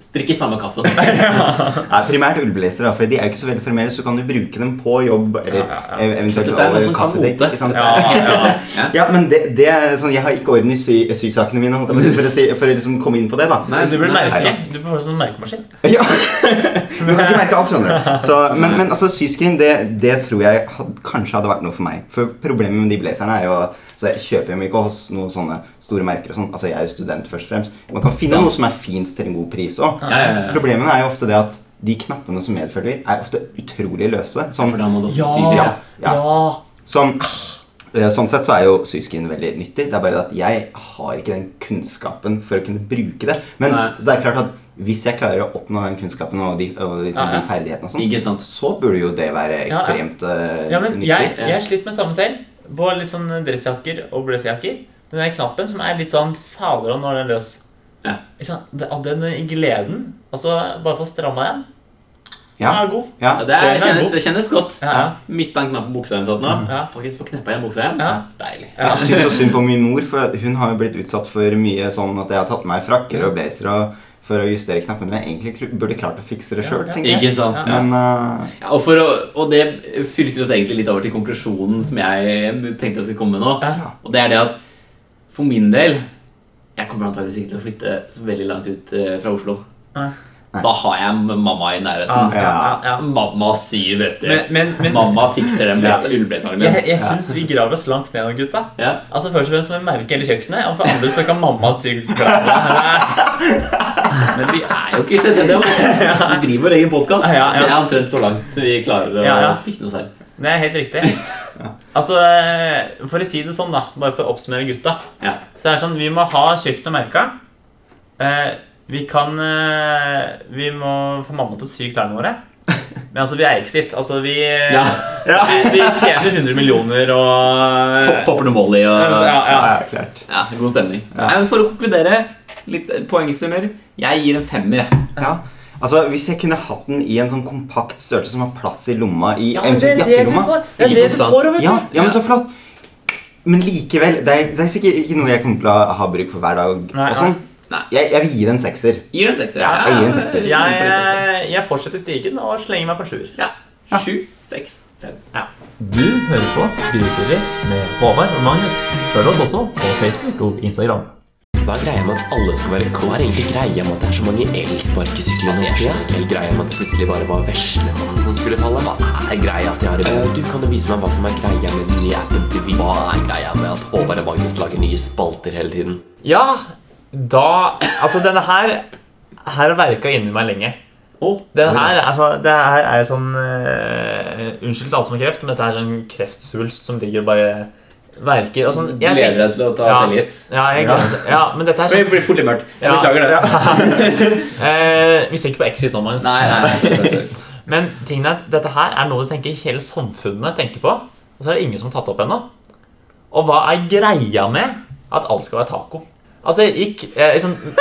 Speaker 1: Strikker samme kaffen.
Speaker 3: Nei, primært ullblazere, da, for de er jo ikke så veldig formelle, så du kan jo bruke dem på jobb eller
Speaker 2: Ja, ja,
Speaker 3: ev- eventuelt
Speaker 1: Dette er noen
Speaker 3: over
Speaker 1: som kan
Speaker 3: kaffedate,
Speaker 1: mote.
Speaker 3: ikke sant?
Speaker 2: Ja, ja.
Speaker 1: Ja.
Speaker 3: Ja, men det, det er sånn, jeg har ikke orden i sy, sysakene mine, holdt jeg på å si, for å, si, for å liksom komme inn på det, da.
Speaker 1: Nei,
Speaker 2: Du burde
Speaker 1: nei,
Speaker 2: merke.
Speaker 3: nei.
Speaker 2: Du burde få sånn merkemaskin.
Speaker 3: Ja. Du kan ikke merke alt, skjønner du. Så, men, men altså, syskrin, det, det tror jeg had, kanskje hadde vært noe for meg. For problemet med de blazerne er jo at så jeg kjøper dem ikke hos noen sånne store merker og sånn. Altså, jeg er jo student først og fremst. Man kan finne
Speaker 1: Sant.
Speaker 3: noe som er fint til en god pris òg.
Speaker 1: Ja, ja, ja.
Speaker 3: Problemet er jo ofte det at de knappene som medfølger, er ofte utrolig løse. Som,
Speaker 1: For da må du også
Speaker 2: Ja.
Speaker 1: sy det.
Speaker 3: ja, ja. Som, eh, sånn sett så er jo syskrin veldig nyttig. Det er bare det at jeg har ikke den kunnskapen for å kunne bruke det. Men
Speaker 1: Nei.
Speaker 3: det er klart at hvis jeg klarer å oppnå den kunnskapen og de, og liksom
Speaker 2: Ja, ja.
Speaker 3: de ferdighetene, og
Speaker 1: Ikke
Speaker 3: sånn,
Speaker 1: sant.
Speaker 3: så burde jo det være
Speaker 2: ja.
Speaker 3: ekstremt eh,
Speaker 2: Ja, men
Speaker 3: nyttig.
Speaker 2: jeg, jeg sliter med samme selv. på litt sånn dressjakker og blazerjakker. Den der knappen som er litt sånn fader og når den er løs.
Speaker 1: Ja.
Speaker 2: Ikke sant? Det- av Den gleden, altså bare for å stramme den, den
Speaker 3: Ja,
Speaker 2: er god.
Speaker 3: ja.
Speaker 1: Ja, det, er,
Speaker 2: Den er
Speaker 1: kjennes,
Speaker 2: god.
Speaker 1: det kjennes godt.
Speaker 2: Ja, ja.
Speaker 1: Mista en knapp på buksa hennes nå.
Speaker 2: Ja.
Speaker 1: Faktisk få kneppa igjen buksa igjen.
Speaker 2: Ja.
Speaker 1: Deilig.
Speaker 2: Ja.
Speaker 3: Jeg syns så synd på min mor, for hun har jo blitt utsatt for mye sånn at jeg har tatt på meg frakker og blazer og for å justere knappene. Men jeg egentlig kl- burde klart å fikse det sjøl,
Speaker 2: Ja, ja.
Speaker 3: tenker
Speaker 1: Ikke
Speaker 3: jeg.
Speaker 1: sant? Ja.
Speaker 3: Men eh,
Speaker 1: og, for å, og det fyrter oss egentlig litt over til konklusjonen som jeg tenkte jeg skulle komme med nå.
Speaker 2: Ja.
Speaker 1: Og det er det at for min del Jeg kommer antakeligvis ikke til å flytte så veldig langt ut eh, fra Oslo.
Speaker 2: Nei. Ah,
Speaker 1: Da har jeg mamma i nærheten.
Speaker 2: ja, ja, ja.
Speaker 1: Mamma syr, vet du.
Speaker 2: Men, men, men
Speaker 1: mamma fikser den blazer- ullblazeren min.
Speaker 2: jeg, jeg syns vi graver oss langt ned nå, gutta.
Speaker 1: Ja.
Speaker 2: Altså Først og fremst med merke hele kjøkkenet, og for andre så kan mamma sy klærne.
Speaker 1: Men vi er jo ikke selvstendige. mann. Vi driver vår egen podkast.
Speaker 2: Ja, ja.
Speaker 1: Det er omtrent så langt vi klarer å
Speaker 2: Ja, ja.
Speaker 1: fikse noe selv.
Speaker 2: Det er helt riktig. Altså, eh, For å si det sånn, da, bare for å oppsummere gutta
Speaker 1: Ja.
Speaker 2: Så er det sånn, Vi må ha kjøkkenet merka. Eh, vi kan eh, Vi må få mamma til å sy klærne våre. Men altså, vi er Exit. Altså, vi,
Speaker 1: Ja.
Speaker 2: vi, vi tjener 100 millioner
Speaker 1: Pop-
Speaker 2: og
Speaker 1: Popper noe Molly og
Speaker 2: ja,
Speaker 3: ja,
Speaker 2: ja.
Speaker 3: ja, klart.
Speaker 1: Ja, god stemning. Nei, men For å konkludere, litt poengsummer. Jeg gir en femmer. jeg.
Speaker 3: Ja. Altså, Hvis jeg kunne hatt den i en sånn kompakt størrelse som har plass i lomma i
Speaker 2: Ja, men det er det
Speaker 3: eventuelt
Speaker 2: du
Speaker 3: jakkelomma
Speaker 2: får! Det er
Speaker 1: Ikke
Speaker 2: det du
Speaker 1: sant?
Speaker 2: får, vet du!
Speaker 3: Ja, ja, men så flott. Men likevel, det er, det er sikkert ikke noe jeg kommer til å ha bruk for hver dag.
Speaker 2: Nei,
Speaker 3: og sånn.
Speaker 1: nei. Nei.
Speaker 3: Jeg, jeg vil gi det en sekser.
Speaker 1: Gir en sekser.
Speaker 3: jeg gir en sekser.
Speaker 1: Ja,
Speaker 2: Jeg, eh, jeg fortsetter stigen og slenger meg på en sjuer.
Speaker 1: ja. Sju, seks, fem.
Speaker 6: Du hører på Grytidlig med Håvard og Magnus. Følg oss også på Facebook og Instagram.
Speaker 7: Hva er greia med at alle skal være Hva er egentlig greia med at det er så mange elsparkesykler nå? Jeg skjønner ikke helt greia med at det plutselig bare var veslemannen som skulle falle. Hva er greia at de har en Du kan jo vise meg hva som er greia med den nye appen til Vy. Eh, Hva er greia med at Håvard og Magnus lager nye spalter hele tiden?
Speaker 2: Ja, da Altså, denne her Her har verka inni meg lenge.
Speaker 1: Å,
Speaker 2: Den her, altså, det her er sånn eh, Unnskyld til alle som har kreft, men dette er sånn kreftsvulst som ligger og bare verker. Og sånn, jeg
Speaker 1: Gleder deg til å ta
Speaker 2: Ja.
Speaker 1: cellegift.
Speaker 2: tenker- Ja, jeg gleder meg. Ja, men dette er
Speaker 1: Det
Speaker 2: sånn
Speaker 1: blir fort litt mørkt. Jeg
Speaker 2: Ja.
Speaker 1: beklager det.
Speaker 2: eh, Vi ser ikke på Exit nå, Magnus.
Speaker 1: Nei, nei, jeg skal ikke.
Speaker 2: Men tingene er at dette her er noe du tenker hele samfunnet tenker på, og så er det ingen som har tatt det opp ennå. Og hva er greia med at alt skal være taco? Altså, jeg gikk eh, liksom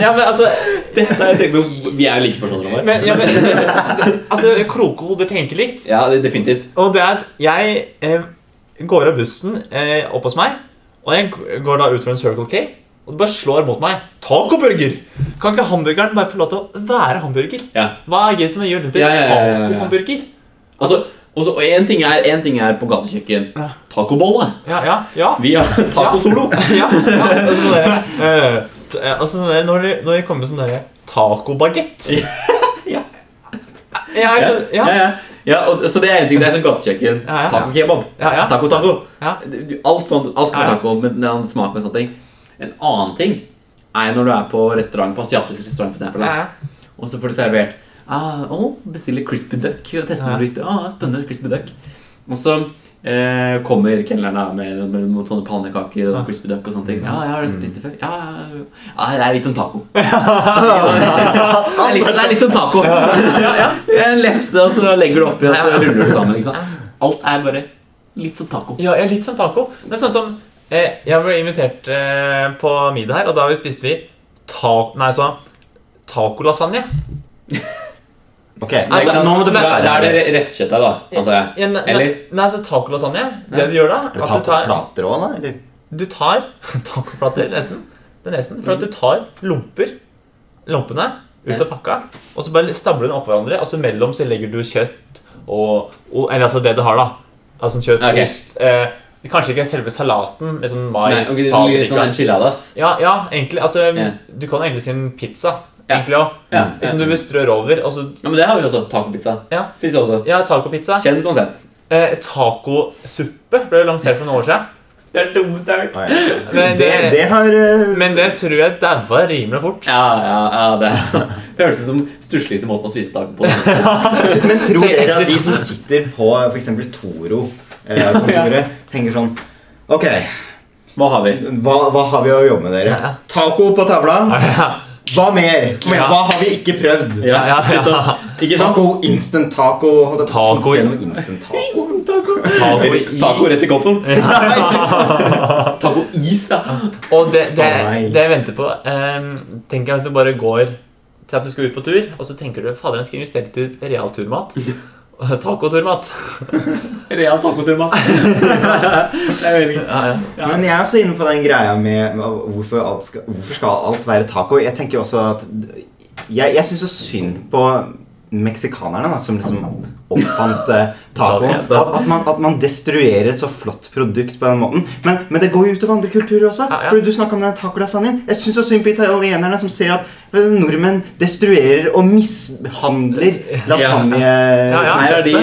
Speaker 2: Ja, men altså
Speaker 1: Dette er- tenk på- Vi er jo like personer. Omar.
Speaker 2: men, ja, men, Altså, kloke hoder tenker likt.
Speaker 1: Ja, det- definitivt.
Speaker 2: Og det er at jeg eh, går av bussen eh, opp hos meg, og jeg g- går da ut fra en Circle K, og det bare slår mot meg. Tacoburger! Kan ikke hamburgeren bare få lov til å være hamburger?
Speaker 1: Ja.
Speaker 2: Hva er det som gjør den til
Speaker 1: Ja, ja, ja, ja, ja.
Speaker 2: tacohamburger?
Speaker 1: Altså, og så- og en ting, er- en ting er på gatekjøkken. Tacobolle.
Speaker 2: Ja, ja, ja.
Speaker 1: Vi har tacosolo.
Speaker 2: ja, ja. Og så dere, eh, t- eh, altså dere, når de, når de kommer med sånn derre tacobagett
Speaker 1: Ja.
Speaker 2: Ja,
Speaker 1: Ja,
Speaker 2: altså,
Speaker 1: ja,
Speaker 2: ja,
Speaker 1: ja. ja og, så det er en ting. Det er sånn gatekjøkken.
Speaker 2: Ja, ja.
Speaker 1: Taco kebab.
Speaker 2: ja, ja.
Speaker 1: Taco taco.
Speaker 2: Ja.
Speaker 1: Du- du- Alt sånt, alt med
Speaker 2: Ja, ja.
Speaker 1: taco, med den andre smaken og sånne ting. En annen ting er når du er på restaurant, på asiatisk restaurant for eksempel, da.
Speaker 2: ja, ja.
Speaker 1: og så får du servert ah, å, bestille crispy duck og teste
Speaker 2: Ja.
Speaker 1: noe litt. Ah, spennende crispy duck. Og så eh, kommer kelneren da med, med, med sånne pannekaker og crispy duck og sånne ting. Ah, Ja, jeg har spist det før. Ja, ja, ja. ja, det er litt som taco. Det er litt, det er litt som taco. Det er En lefse, og så legger du oppi, og så ruller du sammen. Liksom. Alt er bare litt som taco.
Speaker 2: Ja, jeg er litt som taco. Men sånn som eh, Jeg ble invitert eh, på middag her, og da vi spiste vi ta... Nei, så tacolasagne.
Speaker 3: Ok,
Speaker 2: Altså,
Speaker 3: nå må du
Speaker 2: men-
Speaker 3: forklare.
Speaker 1: Da er det restkjøttet, da. antar jeg.
Speaker 2: Ja, ne- ne-
Speaker 1: Eller?
Speaker 2: Nei, så tacolasagne. Det du gjør da, er
Speaker 3: Ta
Speaker 2: at du
Speaker 3: på
Speaker 2: tar,
Speaker 3: plater òg, da? Eller?
Speaker 2: du tar tacoplater nesten. Det er nesten. For at du
Speaker 1: Mm.
Speaker 2: tar lomper. Lompene ut av pakka, og så bare stabler du dem oppå hverandre. Og så mellom så legger du kjøtt og, og Eller altså det du har, da. Altså kjøtt,
Speaker 1: Ok.
Speaker 2: ost eh, Kanskje ikke selve salaten, med sånn mais,
Speaker 1: Nei, ok, det blir
Speaker 2: paprika.
Speaker 1: litt sånn enchiladas.
Speaker 2: Ja, ja, egentlig. Altså,
Speaker 1: Ja.
Speaker 2: Du kan jo egentlig si en pizza. Egentlig òg.
Speaker 1: Ja, ja.
Speaker 2: Liksom du bestrør over. Og så
Speaker 1: ja, men det har vi også. Tacopizza.
Speaker 2: Ja.
Speaker 1: Fins også.
Speaker 2: Ja, tacopizza.
Speaker 1: Kjent konsept.
Speaker 2: Eh, tacosuppe ble jo lansert for noen år siden.
Speaker 1: Det er dummeste jeg har hørt.
Speaker 3: Nei.
Speaker 2: Men
Speaker 3: Det, det har eh,
Speaker 2: men det tror jeg daua rimelig fort.
Speaker 1: Ja, ja, ja, det, det høres ut som stussligste måten å spise taco på.
Speaker 3: Men tror
Speaker 2: Tenk-
Speaker 3: dere at de som sitter på f.eks. Toro-kontoret, eh, tenker sånn Ok,
Speaker 1: Hva har vi?
Speaker 3: hva, hva har vi å jobbe med, dere?
Speaker 2: Ja.
Speaker 3: Taco på tavla?
Speaker 2: Ja,
Speaker 3: Hva mer? Kom igjen,
Speaker 2: Ja.
Speaker 3: Hva har vi ikke prøvd?
Speaker 1: Ja,
Speaker 2: ja, ja.
Speaker 1: Ikke sant? Ikke sant?
Speaker 3: Taco, instant taco. Finnes det noe instant taco?
Speaker 2: Taco i
Speaker 1: Taco rett i koppen. Taco-is, ja.
Speaker 2: Og det, det,
Speaker 8: Å, nei.
Speaker 2: det jeg venter på ehm, Tenk at du bare går til at du skal ut på tur, og så tenker du Fader, jeg skal investere til realturmat. Tacoturmat.
Speaker 1: Real tacoturmat. Det er veldig gøy.
Speaker 3: Men jeg er også inne på den greia med hva- hvorfor, alt skal, hvorfor skal alt være taco. Jeg tenker jo også at Jeg, jeg syns så synd på meksikanerne, da, som liksom oppfant eh, taco. At, at, man, at man destruerer et så flott produkt på den måten. Men, men det går jo utover andre kulturer også.
Speaker 2: Ja, ja.
Speaker 3: Fordi du snakket om den tacolasagnen. Jeg syns så synd på italienerne som ser at eh, nordmenn destruerer og mishandler lasagne.
Speaker 2: Ja, ja.
Speaker 1: Her er de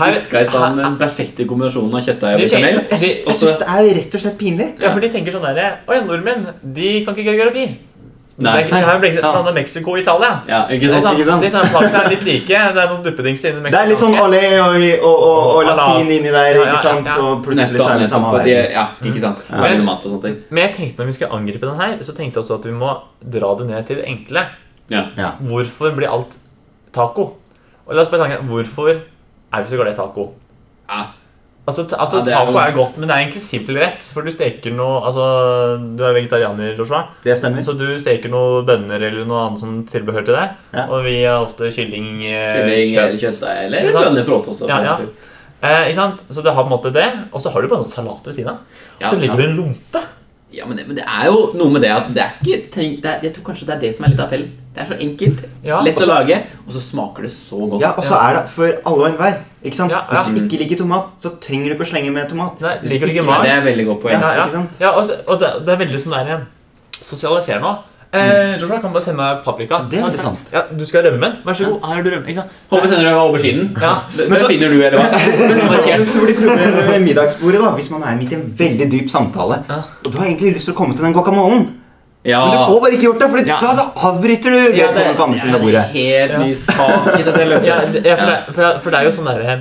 Speaker 2: Her-
Speaker 1: diska i stand den perfekte kombinasjonen av kjøttdeig og
Speaker 2: Vi
Speaker 1: bechamel.
Speaker 2: tenker-
Speaker 3: Jeg syns jeg syns det er rett og slett pinlig.
Speaker 2: Ja, for de tenker sånn derre Å ja, nordmenn, de kan ikke geografi.
Speaker 1: Nei.
Speaker 2: Det er- det her blir
Speaker 3: Ja.
Speaker 2: blanda Mexico og Italia.
Speaker 1: Ja, ikke
Speaker 2: Det er
Speaker 1: sant?
Speaker 2: sånn-
Speaker 3: Ikke sant?
Speaker 2: De samme flaggene er litt like. Det er noen duppedingser inni
Speaker 3: Det er litt sånn
Speaker 2: meksikanske.
Speaker 3: olé og, og, og, og latin inni der,
Speaker 2: Ja, ja,
Speaker 3: ikke sant?
Speaker 2: ja.
Speaker 3: Og plutselig
Speaker 1: Nettopp,
Speaker 3: så er det Mm.
Speaker 1: nettopp.
Speaker 3: samme
Speaker 1: og de-
Speaker 3: verden.
Speaker 1: Ja, ikke sant. Veldig mat og sånne ting.
Speaker 2: Men jeg tenkte når vi skulle angripe den her, så tenkte jeg også at vi må dra det ned til det enkle.
Speaker 1: Ja.
Speaker 2: Hvorfor blir alt taco? Og la oss bare tenke, hvorfor er vi så glad i taco?
Speaker 1: Ja.
Speaker 2: Altså, ta, altså
Speaker 1: Ja, det er
Speaker 2: Taco
Speaker 1: jo-
Speaker 2: er godt, men det er egentlig simpel rett. For du steker noe altså, Du er vegetarianer, Joshua.
Speaker 3: Det stemmer.
Speaker 2: Så du steker noen bønner eller noe annet som tilbehør til det.
Speaker 3: Ja.
Speaker 2: Og vi har ofte kylling, eh,
Speaker 1: Kylling eller
Speaker 2: kjøtt.
Speaker 1: kjøttdeig eller bønner for oss også. for
Speaker 2: Ja, ja.
Speaker 1: den saks skyld.
Speaker 2: Eh, ikke sant? Så du har på en måte det, og så har du bare noe salat ved siden av. Og
Speaker 1: Ja,
Speaker 2: så ligger
Speaker 1: ja.
Speaker 2: det en lompe.
Speaker 1: Ja, men det, men det er jo noe med det at det er ikke tenk, det er, Jeg tror kanskje det er det som er litt av appellen. Det er så enkelt,
Speaker 2: Ja,
Speaker 1: lett
Speaker 2: og
Speaker 1: å lage, og så smaker det så godt.
Speaker 3: Ja, Og så er det for alle og enhver. ikke sant?
Speaker 2: Ja, ja.
Speaker 3: Hvis du ikke liker tomat, så trenger du ikke å slenge med tomat.
Speaker 2: Nei,
Speaker 3: Hvis
Speaker 2: liker du ikke
Speaker 1: Nei,
Speaker 2: mat?
Speaker 1: det er et veldig godt poeng.
Speaker 3: Ja.
Speaker 2: Ja, ja.
Speaker 3: ikke sant?
Speaker 2: ja og, så- og det, det er veldig sånn der igjen Sosialiser nå. Eh, Joshua, kan du bare sende meg paprika?
Speaker 3: Mm. Det er
Speaker 2: Takk,
Speaker 3: interessant.
Speaker 2: takk. Ja, du skal ha rømmen? Vær så god. Her er det rømme. Ikke sant?
Speaker 1: Håper sender du auberginen.
Speaker 2: Ja.
Speaker 1: Det, det finner du, eller hva? Det er
Speaker 3: Men
Speaker 1: markert.
Speaker 3: så blir problemet med middagsbordet da, hvis man er midt i en veldig dyp samtale.
Speaker 2: Ja.
Speaker 3: Og du har egentlig lyst til å komme til den guacamolen,
Speaker 1: Ja.
Speaker 3: men du får bare ikke gjort det, for
Speaker 1: Ja.
Speaker 3: da, da avbryter du vedkommende på andre siden av bordet.
Speaker 1: Helt ny sak i seg selv. vet du.
Speaker 2: Ja, det- ja, for, det, for, for det er jo sånn derre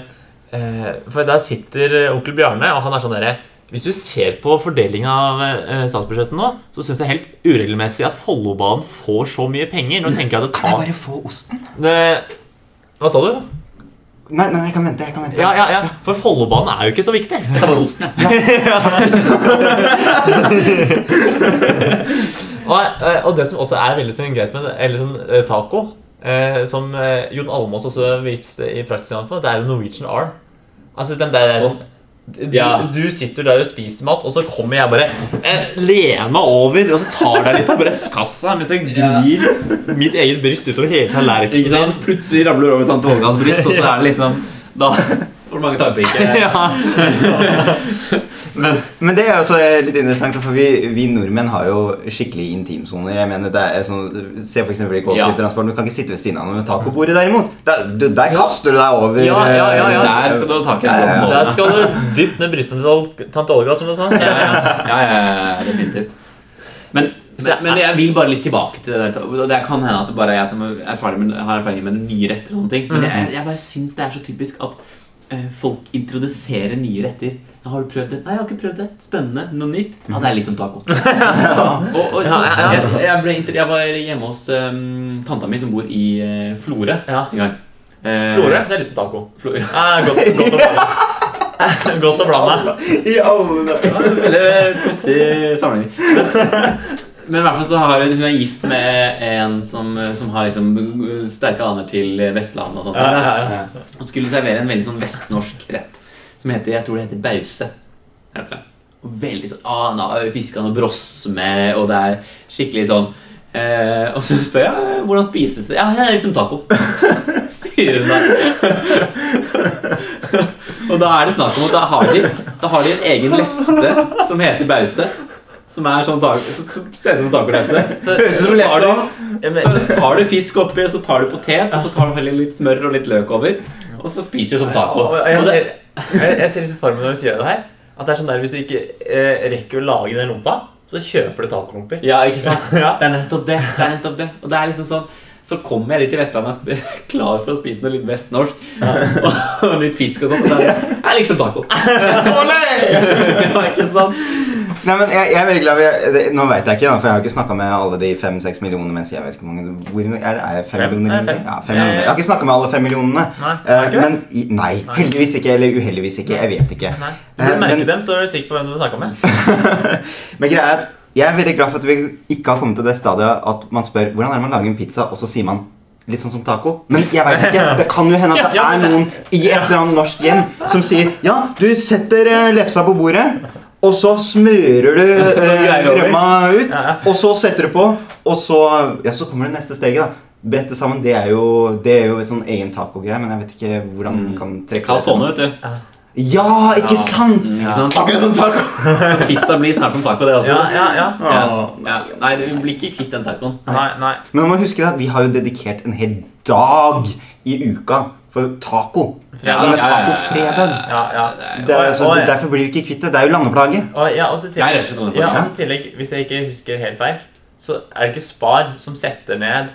Speaker 2: eh, For der sitter eh, onkel Bjarne, og han er sånn derre Hvis du ser på fordelinga av eh, statsbudsjettet nå, så syns jeg helt uregelmessig at Follobanen får så mye penger. Nå tenker jeg at det
Speaker 3: Kan jeg
Speaker 2: tar
Speaker 3: bare få osten?
Speaker 2: det, Hva sa du?
Speaker 3: Nei, nei, jeg kan vente. jeg kan vente.
Speaker 2: Ja, ja, ja. For Follobanen er jo ikke så viktig.
Speaker 1: Ta bare osten, ja.
Speaker 2: Og, eh, og det som også er veldig sånn greit med det, eller sånn eh, taco, eh, som eh, Jon Almaas også viste i praksisen, for, det er jo Norwegian arm. Altså den der du,
Speaker 1: Ja.
Speaker 2: du sitter der og spiser mat, og så kommer jeg bare eh, lene over og så tar deg litt på brystkassa mens jeg glir mitt eget bryst utover hele tallerkenen.
Speaker 1: Ikke sant? Plutselig ramler du over tante Olgas bryst, og så er det liksom Da får du mange tarmpiker.
Speaker 2: Ja.
Speaker 3: Men det er også litt interessant, for vi, vi nordmenn har jo skikkelig intimsoner. Jeg mener, det er sånn, Se for eksempel i kollektivtransporten. Du kan ikke sitte ved siden av noen ved tacobordet, derimot. Der, du, der kaster du deg over.
Speaker 2: Ja, ja, ja, ja.
Speaker 3: eh,
Speaker 1: Der skal du ha tak i
Speaker 3: Ja, ja, ja.
Speaker 1: den
Speaker 2: Der skal du dypt ned brystet til tante Olga, som du sa.
Speaker 1: Ja, ja, ja, ja, ja, definitivt. Men, men, men jeg vil bare litt tilbake til det der. og Det kan hende at det bare er jeg som er erfaring med, har erfaring med nye retter. og sånne ting
Speaker 2: Mm.
Speaker 1: Men jeg, jeg bare syns det er så typisk at eh, folk introduserer nye retter. Ja, har du prøvd det? Nei, jeg har ikke prøvd det. Spennende. Noe nytt? Ja, det er litt som taco. og, og, så,
Speaker 2: Ja, ja, ja.
Speaker 1: jeg, jeg, ble, inter- jeg var hjemme hos eh, tanta mi, som bor i eh, Florø.
Speaker 2: Ja.
Speaker 1: en gang. Eh,
Speaker 2: Florø, det er litt som taco.
Speaker 1: Flo- ja,
Speaker 2: Ah, godt, godt å blande. Godt å blande.
Speaker 3: I alle dager.
Speaker 1: Veldig pussig sammenligning. Men, men i hvert fall så har hun, hun er gift med en som, som har liksom sterke aner til Vestlandet og sånt.
Speaker 2: Ja, ja, ja.
Speaker 1: Og skulle servere en veldig sånn vestnorsk rett som heter Jeg tror det heter bause. Heter det. Og veldig sånn ah, nå har vi Fiska noe bross med, og det er skikkelig sånn eh, Og så spør jeg hvordan spises det. Ja, det er litt som taco. Sier hun da. og da er det snakk om at da har de, da har de en egen lefse som heter bause. Som er sånn dag, som, som ser ut som tacolefse.
Speaker 3: Høres ut som lefse.
Speaker 1: Så så tar du fisk oppi, og så tar du potet, og så tar du heller litt smør og litt løk over. Og så spiser du som taco.
Speaker 2: Og jeg
Speaker 1: Og det,
Speaker 2: ser, jeg, jeg ser liksom for meg når du sier det her, at det er sånn der hvis du ikke eh, rekker å lage den lompa, så kjøper du tacolomper.
Speaker 1: ja, ikke sant?
Speaker 2: Ja.
Speaker 1: Det er nettopp det. det, er nettopp det. Og det er liksom sånn Så kommer jeg litt til Vestlandet og er sp- klar for å spise noe litt vestnorsk. Og- Og litt fisk og sånn. Og det er det er litt som taco. ja, ikke sant?
Speaker 3: Nei, men jeg, jeg er veldig glad vi- det- Nå vet jeg ikke, da, for jeg har ikke snakka med alle de fem-seks millionene mennesker. Jeg vet ikke hvor mange hvor, Er det er det fem,
Speaker 2: Fem?
Speaker 3: millioner?
Speaker 2: Nei, fem. Eh.
Speaker 3: Ja, fem millioner. Jeg har ikke snakka med alle fem millionene.
Speaker 2: Nei,
Speaker 3: Eh,
Speaker 2: er det ikke
Speaker 3: men i, nei, heldigvis ikke. Eller uheldigvis ikke. Jeg vet ikke.
Speaker 2: Nei.
Speaker 3: Eh,
Speaker 2: Hvis du merker
Speaker 3: men-
Speaker 2: dem, så er du sikker på hvem du vil snakke med.
Speaker 3: Men greia er at jeg er veldig glad for at vi ikke har kommet til det stadiet at man spør hvordan er det man lager en pizza, og så sier man litt sånn som taco. Men jeg vet ikke. Det kan jo hende at det
Speaker 2: Ja,
Speaker 3: er
Speaker 2: men det-
Speaker 3: noen i et eller annet norsk hjem som sier ja, du setter eh, lefsa på bordet, og så smører du eh,
Speaker 1: greier over.
Speaker 3: rømma ut, og så setter du på, og så Ja, så kommer det neste steget, da. Brette sammen, det er jo, det er jo en sånn egen tacogreie, men jeg vet ikke hvordan man kan trekke
Speaker 1: Calzone, vet du.
Speaker 3: Ja, ikke sant?
Speaker 1: Ikke sant?
Speaker 3: Akkurat som taco.
Speaker 1: Så pizza blir snart som taco, det også.
Speaker 2: Ja, ja, ja.
Speaker 1: Ja. Ja. Nei, vi blir ikke kvitt den tacoen.
Speaker 2: Nei, nei.
Speaker 3: Men man må huske at vi har jo dedikert en hel dag i uka for taco.
Speaker 2: Fredag.
Speaker 3: Eller
Speaker 1: Ja, ja, ja, ja, ja.
Speaker 3: tacofredag.
Speaker 2: Ja, ja.
Speaker 3: Det er, så,
Speaker 2: Og- og-
Speaker 3: derfor blir vi ikke kvitt det. Det er jo landeplage.
Speaker 2: Og ja, også i
Speaker 1: Jeg er rett og slett
Speaker 2: tillegg,
Speaker 1: underlig.
Speaker 2: ja, også i tillegg, hvis jeg ikke husker helt feil, så er det ikke Spar som setter ned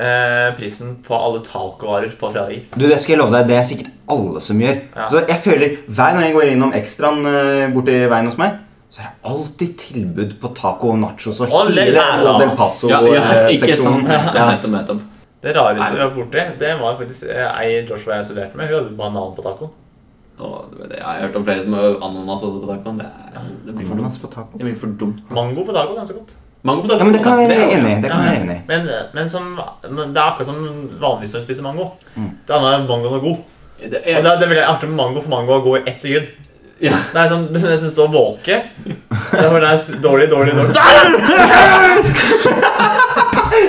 Speaker 2: eh, prisen på alle tacovarer på fredager.
Speaker 3: Du, Det skal jeg love deg, det er sikkert alle som gjør.
Speaker 2: Ja.
Speaker 3: Så jeg føler, Hver gang jeg går innom Extraen eh, borti veien hos meg, så er det alltid tilbud på taco og nachos og
Speaker 2: Og
Speaker 3: hele
Speaker 2: Del Paso.
Speaker 1: altså.
Speaker 3: og
Speaker 1: Ja,
Speaker 3: Del
Speaker 1: ja,
Speaker 3: eh,
Speaker 1: ikke
Speaker 3: Paso-seksjonen.
Speaker 1: sånn. Nettopp, nettopp.
Speaker 2: Det rareste vi har vært borti, det var faktisk eh, ei Joshua jeg studerte med. Hun hadde banan på taco.
Speaker 1: Å, det var det. Jeg har hørt om flere som har ananas også på tacoen. Det, er, det blir for dumt. Det blir for dumt.
Speaker 2: Mango på taco, ganske godt.
Speaker 1: Mango på
Speaker 3: Ja,
Speaker 1: tacoen.
Speaker 3: men Det kan jeg
Speaker 1: er
Speaker 3: være
Speaker 1: jo-
Speaker 3: enig i. det kan jeg være enig i.
Speaker 2: Men, eh, men som, men det er akkurat som vanligvis når du spiser mango. Det andre er at mangoen er god.
Speaker 1: Det
Speaker 2: Og
Speaker 1: er,
Speaker 2: det, er- det er veldig artig med mango, for mango går i ett sekund.
Speaker 1: Ja.
Speaker 2: Det er sånn, Du er nesten så våke. Det er bare det er dårlig, dårlig, dårlig. Det er,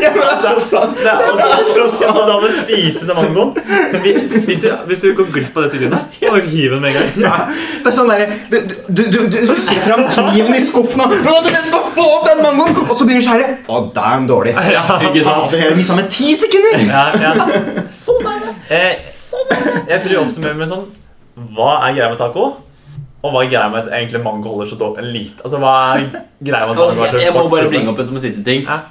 Speaker 2: og, og, og, og da må du spise den mangoen. Hvis- Hvis du, hvis du går glipp av det sekundet, må du hive den med en gang.
Speaker 3: Det er sånn derre Du, du, du, du fikk fram kniven i skuffen og Nå men jeg skal få opp den mangoen! Og så blir du skjære. Å, da er den dårlig.
Speaker 1: ikke sant?
Speaker 3: Jeg mista med ti sekunder!
Speaker 2: Ja, ja. Eh, Jeg tror jeg oppsummerer med sånn Hva er greia med taco? Og hva er greia med at egentlig mango holder så dårlig lite? Altså, hva er greia med at
Speaker 1: Og
Speaker 2: mango er
Speaker 1: Jeg,
Speaker 2: så
Speaker 1: jeg må
Speaker 2: kort-
Speaker 1: bare bringe opp en som en siste ting.
Speaker 2: Ja.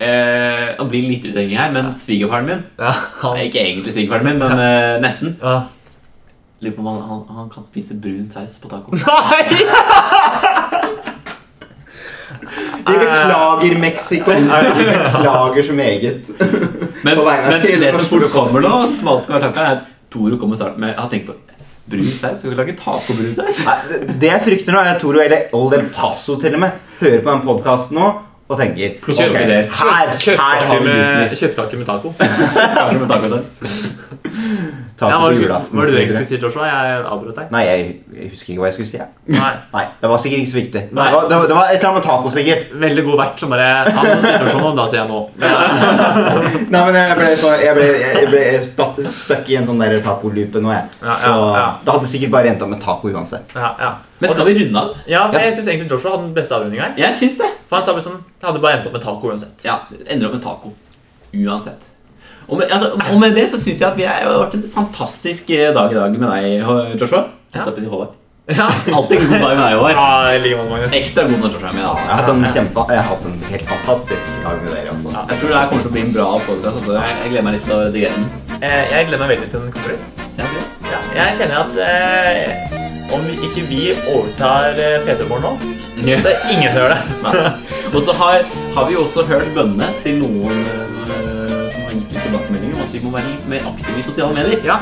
Speaker 1: Eh, han blir litt uthengig her, men svigerfaren min
Speaker 2: Ja, han,
Speaker 1: Nei, Ikke egentlig svigerfaren min, men eh, nesten.
Speaker 2: ja.
Speaker 1: Lurer på om han, han, han kan spise brun saus på taco.
Speaker 2: Nei!
Speaker 3: Vi beklager, Mexico. Vi beklager så meget.
Speaker 1: Men,
Speaker 3: På vegne av
Speaker 1: men
Speaker 3: hele
Speaker 1: det som fort
Speaker 3: norsk
Speaker 1: kommer nå, som alt skal være takka, er at Toro kommer snart med Jeg har tenkt på brun saus. Skal vi lage tacobrun saus?
Speaker 3: Det jeg frykter nå, er at Toro eller Old El Paso til og med hører på den podkasten nå og tenker
Speaker 1: Plutselig
Speaker 3: ok,
Speaker 1: gjør vi det.
Speaker 3: her, her har
Speaker 2: Kjøttkaker
Speaker 3: vi
Speaker 2: med,
Speaker 3: business.
Speaker 2: kjøttkaker med taco.
Speaker 1: Taco med tacosaus.
Speaker 3: Taco
Speaker 2: Ja, hva var
Speaker 3: på
Speaker 2: det
Speaker 3: julaften,
Speaker 2: hva var det du
Speaker 3: så
Speaker 2: egentlig
Speaker 3: videre.
Speaker 2: skulle si, Joshua? Jeg avbrøt deg.
Speaker 3: Nei, jeg, jeg husker ikke hva jeg skulle si. jeg.
Speaker 2: Nei.
Speaker 3: Nei, Det var sikkert ikke så viktig. Det
Speaker 1: Nei.
Speaker 3: var, det var, det var et eller annet med taco, sikkert.
Speaker 2: Veldig god vert som bare Han sier spørsmål, og da sier jeg nå.
Speaker 3: Nei, men jeg ble, så, jeg ble, jeg ble statt, støkk i en sånn der tacolupe nå, jeg.
Speaker 2: Ja, ja,
Speaker 3: Så
Speaker 2: ja.
Speaker 3: det hadde sikkert bare endt opp med taco uansett.
Speaker 2: Ja, ja.
Speaker 1: Men skal vi runde av?
Speaker 2: ja for
Speaker 3: Ja.
Speaker 2: jeg syns egentlig Joshua hadde den beste avrundinga her.
Speaker 1: Jeg syns det.
Speaker 2: For han sa bare sånn Det hadde bare endt opp med taco uansett.
Speaker 1: Ja, det ender opp med taco. Uansett. Og med, altså, og med det så syns jeg at vi er- det har vært en fantastisk eh, dag i dag med deg, Joshua.
Speaker 2: Ja.
Speaker 1: Holdt jeg på å si Håvard.
Speaker 2: Ja.
Speaker 1: Alltid en god dag med deg, Håvard.
Speaker 2: Ja, i like måte, Magnus.
Speaker 1: Ekstra god når Joshua er med.
Speaker 3: Jeg
Speaker 1: Altså.
Speaker 3: har hatt en, kjempe, jeg har hatt en helt fantastisk dag med dere. altså.
Speaker 1: Jeg tror det her kommer til å bli en bra podcast, Altså. Jeg, jeg gleder meg litt til å digere den.
Speaker 2: Eh, Jeg gleder meg veldig til den kommer ut.
Speaker 1: Ja, det blir.
Speaker 2: Ja, jeg kjenner at eh, om vi ikke vi overtar eh, P3 Morgen nå, så er det ingen som gjør det.
Speaker 1: Nei. Og så har, har vi jo også hørt bønnene til noen eh, som har gitt litt tilbakemeldinger om at vi må være litt mer aktive i sosiale medier.
Speaker 2: Ja.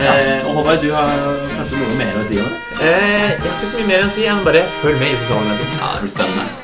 Speaker 1: Eh, og Håvard, du har kanskje noe mer å si om det?
Speaker 2: Eh, Jeg har ikke så mye mer å si enn bare følg med i sosiale medier.
Speaker 1: Ja, det blir spennende.